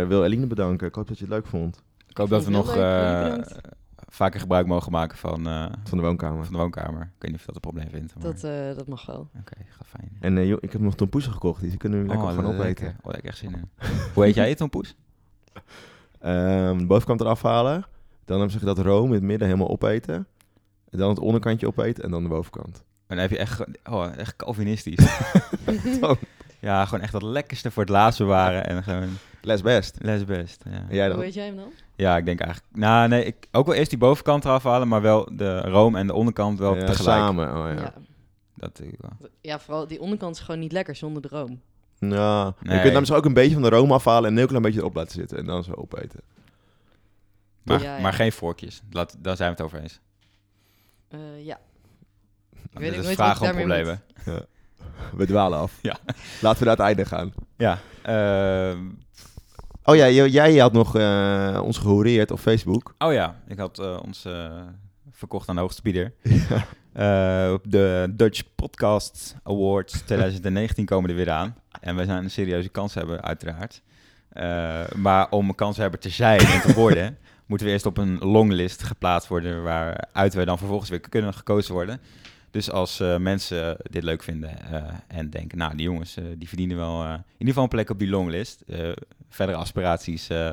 [SPEAKER 1] wil Eline bedanken. Ik hoop dat je het leuk vond
[SPEAKER 2] Ik hoop
[SPEAKER 3] vond
[SPEAKER 2] dat we
[SPEAKER 3] het
[SPEAKER 2] nog
[SPEAKER 3] heel leuk.
[SPEAKER 2] eh,
[SPEAKER 3] Jullie bedankt.
[SPEAKER 2] vaker gebruik mogen maken van, eh,
[SPEAKER 1] van de woonkamer.
[SPEAKER 2] van de woonkamer. Ik weet niet of je dat een probleem vindt. Maar...
[SPEAKER 3] Dat, eh, dat mag wel.
[SPEAKER 2] Oké, gaat fijn.
[SPEAKER 1] En eh, joh, ik heb nog tompoesen gekocht, die kunnen we lekker gaan opeten.
[SPEAKER 2] Oh, daar heb ik echt zin in. Hoe heet jij het, Tom Poes?
[SPEAKER 1] Ehm, de bovenkant eraf halen. Dan hebben ze dat room in het midden helemaal opeten. En dan het onderkantje opeten en dan de bovenkant.
[SPEAKER 2] En dan heb je echt, ge- oh, echt Calvinistisch.
[SPEAKER 1] Dan.
[SPEAKER 2] ja, gewoon echt dat lekkerste voor het laatst bewaren. En gewoon
[SPEAKER 1] Les best.
[SPEAKER 2] les best. Ja.
[SPEAKER 1] En jij
[SPEAKER 3] Hoe
[SPEAKER 1] dan?
[SPEAKER 3] weet jij hem dan?
[SPEAKER 2] ja, ik denk eigenlijk... Nou, nee, ik, ook wel eerst die bovenkant eraf halen, maar wel de room en de onderkant wel
[SPEAKER 1] Ja,
[SPEAKER 2] tegelijk.
[SPEAKER 1] samen. Oh, ja.
[SPEAKER 3] Ja.
[SPEAKER 2] Dat ik wel.
[SPEAKER 3] Ja, vooral die onderkant is gewoon niet lekker zonder de room.
[SPEAKER 1] Ja.
[SPEAKER 2] Nee.
[SPEAKER 1] Je kunt namens ook een beetje van de room afhalen en een heel klein beetje erop laten zitten. En dan zo opeten.
[SPEAKER 2] Maar,
[SPEAKER 3] Ja, ja.
[SPEAKER 2] maar geen vorkjes. Laat, daar zijn we het over eens.
[SPEAKER 3] Eh, ja.
[SPEAKER 1] Nou,
[SPEAKER 2] Ik
[SPEAKER 3] weet ook
[SPEAKER 2] dit is
[SPEAKER 3] nooit
[SPEAKER 2] vragen
[SPEAKER 3] wat
[SPEAKER 2] om
[SPEAKER 3] ik daarmee
[SPEAKER 2] problemen.
[SPEAKER 1] We dwalen af.
[SPEAKER 2] [LAUGHS] Ja.
[SPEAKER 1] Laten we naar het einde gaan.
[SPEAKER 2] Ja. ehm,
[SPEAKER 1] Oh ja, jij, jij had nog eh, ons gehoreerd op Facebook.
[SPEAKER 2] oh ja, ik had eh, ons eh, verkocht aan de hoogste bieder. Eh, op de Dutch Podcast Awards 2019 komen er weer aan. En wij zijn een serieuze kanshebber, uiteraard. Eh, maar om een kanshebber te zijn en te
[SPEAKER 1] [LAUGHS]
[SPEAKER 2] worden, moeten we eerst op een longlist geplaatst worden. Waaruit wij dan vervolgens weer kunnen gekozen worden. Dus als eh, mensen dit leuk vinden eh, en denken, nou die jongens eh, die verdienen wel eh, in ieder geval een plek op die longlist. Eh, verdere aspiraties eh,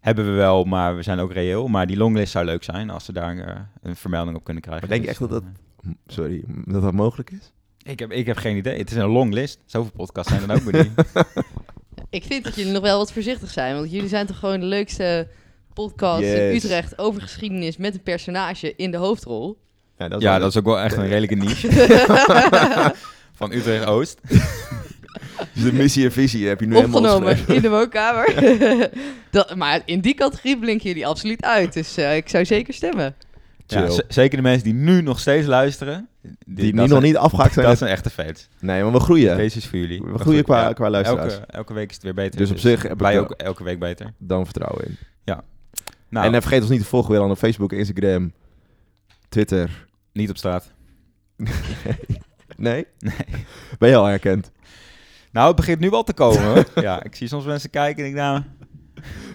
[SPEAKER 2] hebben we wel, maar we zijn ook reëel. Maar die longlist zou leuk zijn als ze daar eh, een vermelding op kunnen krijgen.
[SPEAKER 1] Maar denk je echt dat dat-
[SPEAKER 2] eh,
[SPEAKER 1] M- Sorry, m- dat dat mogelijk is?
[SPEAKER 2] ik heb, ik heb geen idee. Het is een long list. Zoveel podcasts zijn er ook
[SPEAKER 1] [LAUGHS]
[SPEAKER 2] weer niet.
[SPEAKER 3] Ik vind dat jullie nog wel wat voorzichtig zijn. Want jullie zijn toch gewoon de leukste podcast in
[SPEAKER 1] Yes.
[SPEAKER 3] Utrecht over geschiedenis met een personage in de hoofdrol.
[SPEAKER 1] Ja, dat
[SPEAKER 2] ja,
[SPEAKER 1] wel-
[SPEAKER 2] dat is ook wel echt een redelijke
[SPEAKER 1] [LAUGHS]
[SPEAKER 2] niche. Van Utrecht Oost.
[SPEAKER 1] De missie en visie heb je nu helemaal
[SPEAKER 3] Opgenomen
[SPEAKER 1] opgeschreven.
[SPEAKER 3] in de
[SPEAKER 1] [LAUGHS]
[SPEAKER 3] woonkamer. dat, maar in die categorie blinken jullie absoluut uit. Dus eh, ik zou zeker stemmen.
[SPEAKER 2] Ja,
[SPEAKER 1] Chill.
[SPEAKER 2] z- zeker de mensen die nu nog steeds luisteren. Die,
[SPEAKER 1] Die,
[SPEAKER 2] dat
[SPEAKER 1] nu nog
[SPEAKER 2] zijn-
[SPEAKER 1] niet afgehaakt zijn.
[SPEAKER 2] Dat zijn echte fans.
[SPEAKER 1] Nee, maar we groeien.
[SPEAKER 2] Deze is voor jullie.
[SPEAKER 1] We
[SPEAKER 2] Maar
[SPEAKER 1] groeien
[SPEAKER 2] goed,
[SPEAKER 1] qua,
[SPEAKER 2] ja,
[SPEAKER 1] qua luisteraars.
[SPEAKER 2] elke, elke week is het weer beter.
[SPEAKER 1] Dus op zich heb ik
[SPEAKER 2] wij
[SPEAKER 1] wel-
[SPEAKER 2] ook elke week beter.
[SPEAKER 1] Dan vertrouwen in.
[SPEAKER 2] Nou,
[SPEAKER 1] En eh, vergeet ons niet te volgen weer dan op Facebook, Instagram, Twitter.
[SPEAKER 2] niet op straat.
[SPEAKER 1] Nee? [LAUGHS]
[SPEAKER 2] Nee.
[SPEAKER 1] Ben je al herkend?
[SPEAKER 2] Nou, het begint nu wel te komen.
[SPEAKER 1] [LAUGHS]
[SPEAKER 2] hoor. ja, ik zie soms mensen kijken en ik nou...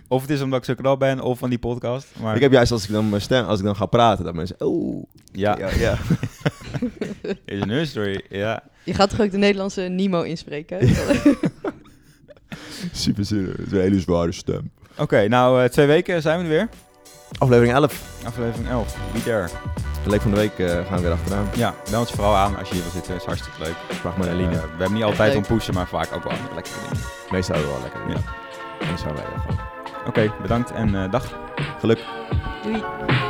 [SPEAKER 2] Of het is omdat ik zo knap ben, of van die podcast. Maar
[SPEAKER 1] Ik heb juist als ik dan mijn stem, als ik dan ga praten, dat mensen. Oh,
[SPEAKER 2] ja,
[SPEAKER 1] ja, ja.
[SPEAKER 2] is een story. Ja.
[SPEAKER 3] Je gaat toch ook de Nederlandse Nemo inspreken?
[SPEAKER 1] [LAUGHS] super serieus. Het is een hele zware stem.
[SPEAKER 2] Oké, nou, eh, twee weken zijn we er weer.
[SPEAKER 1] Aflevering 11.
[SPEAKER 2] Aflevering 11. Be there.
[SPEAKER 1] Leek van de week eh, gaan we weer achteraan.
[SPEAKER 2] Ja, meld ons vooral aan als je hier wil zitten. is hartstikke leuk.
[SPEAKER 1] Vraag maar naar
[SPEAKER 2] Eh,
[SPEAKER 1] Eline.
[SPEAKER 2] we hebben niet altijd
[SPEAKER 3] Leuk.
[SPEAKER 2] om pushen, maar vaak ook wel andere lekkere dingen.
[SPEAKER 1] eh, Meestal hebben we wel lekker. Ja. En zo wij wel gewoon.
[SPEAKER 2] Oké, bedankt en eh, dag.
[SPEAKER 1] Geluk.
[SPEAKER 3] Doei.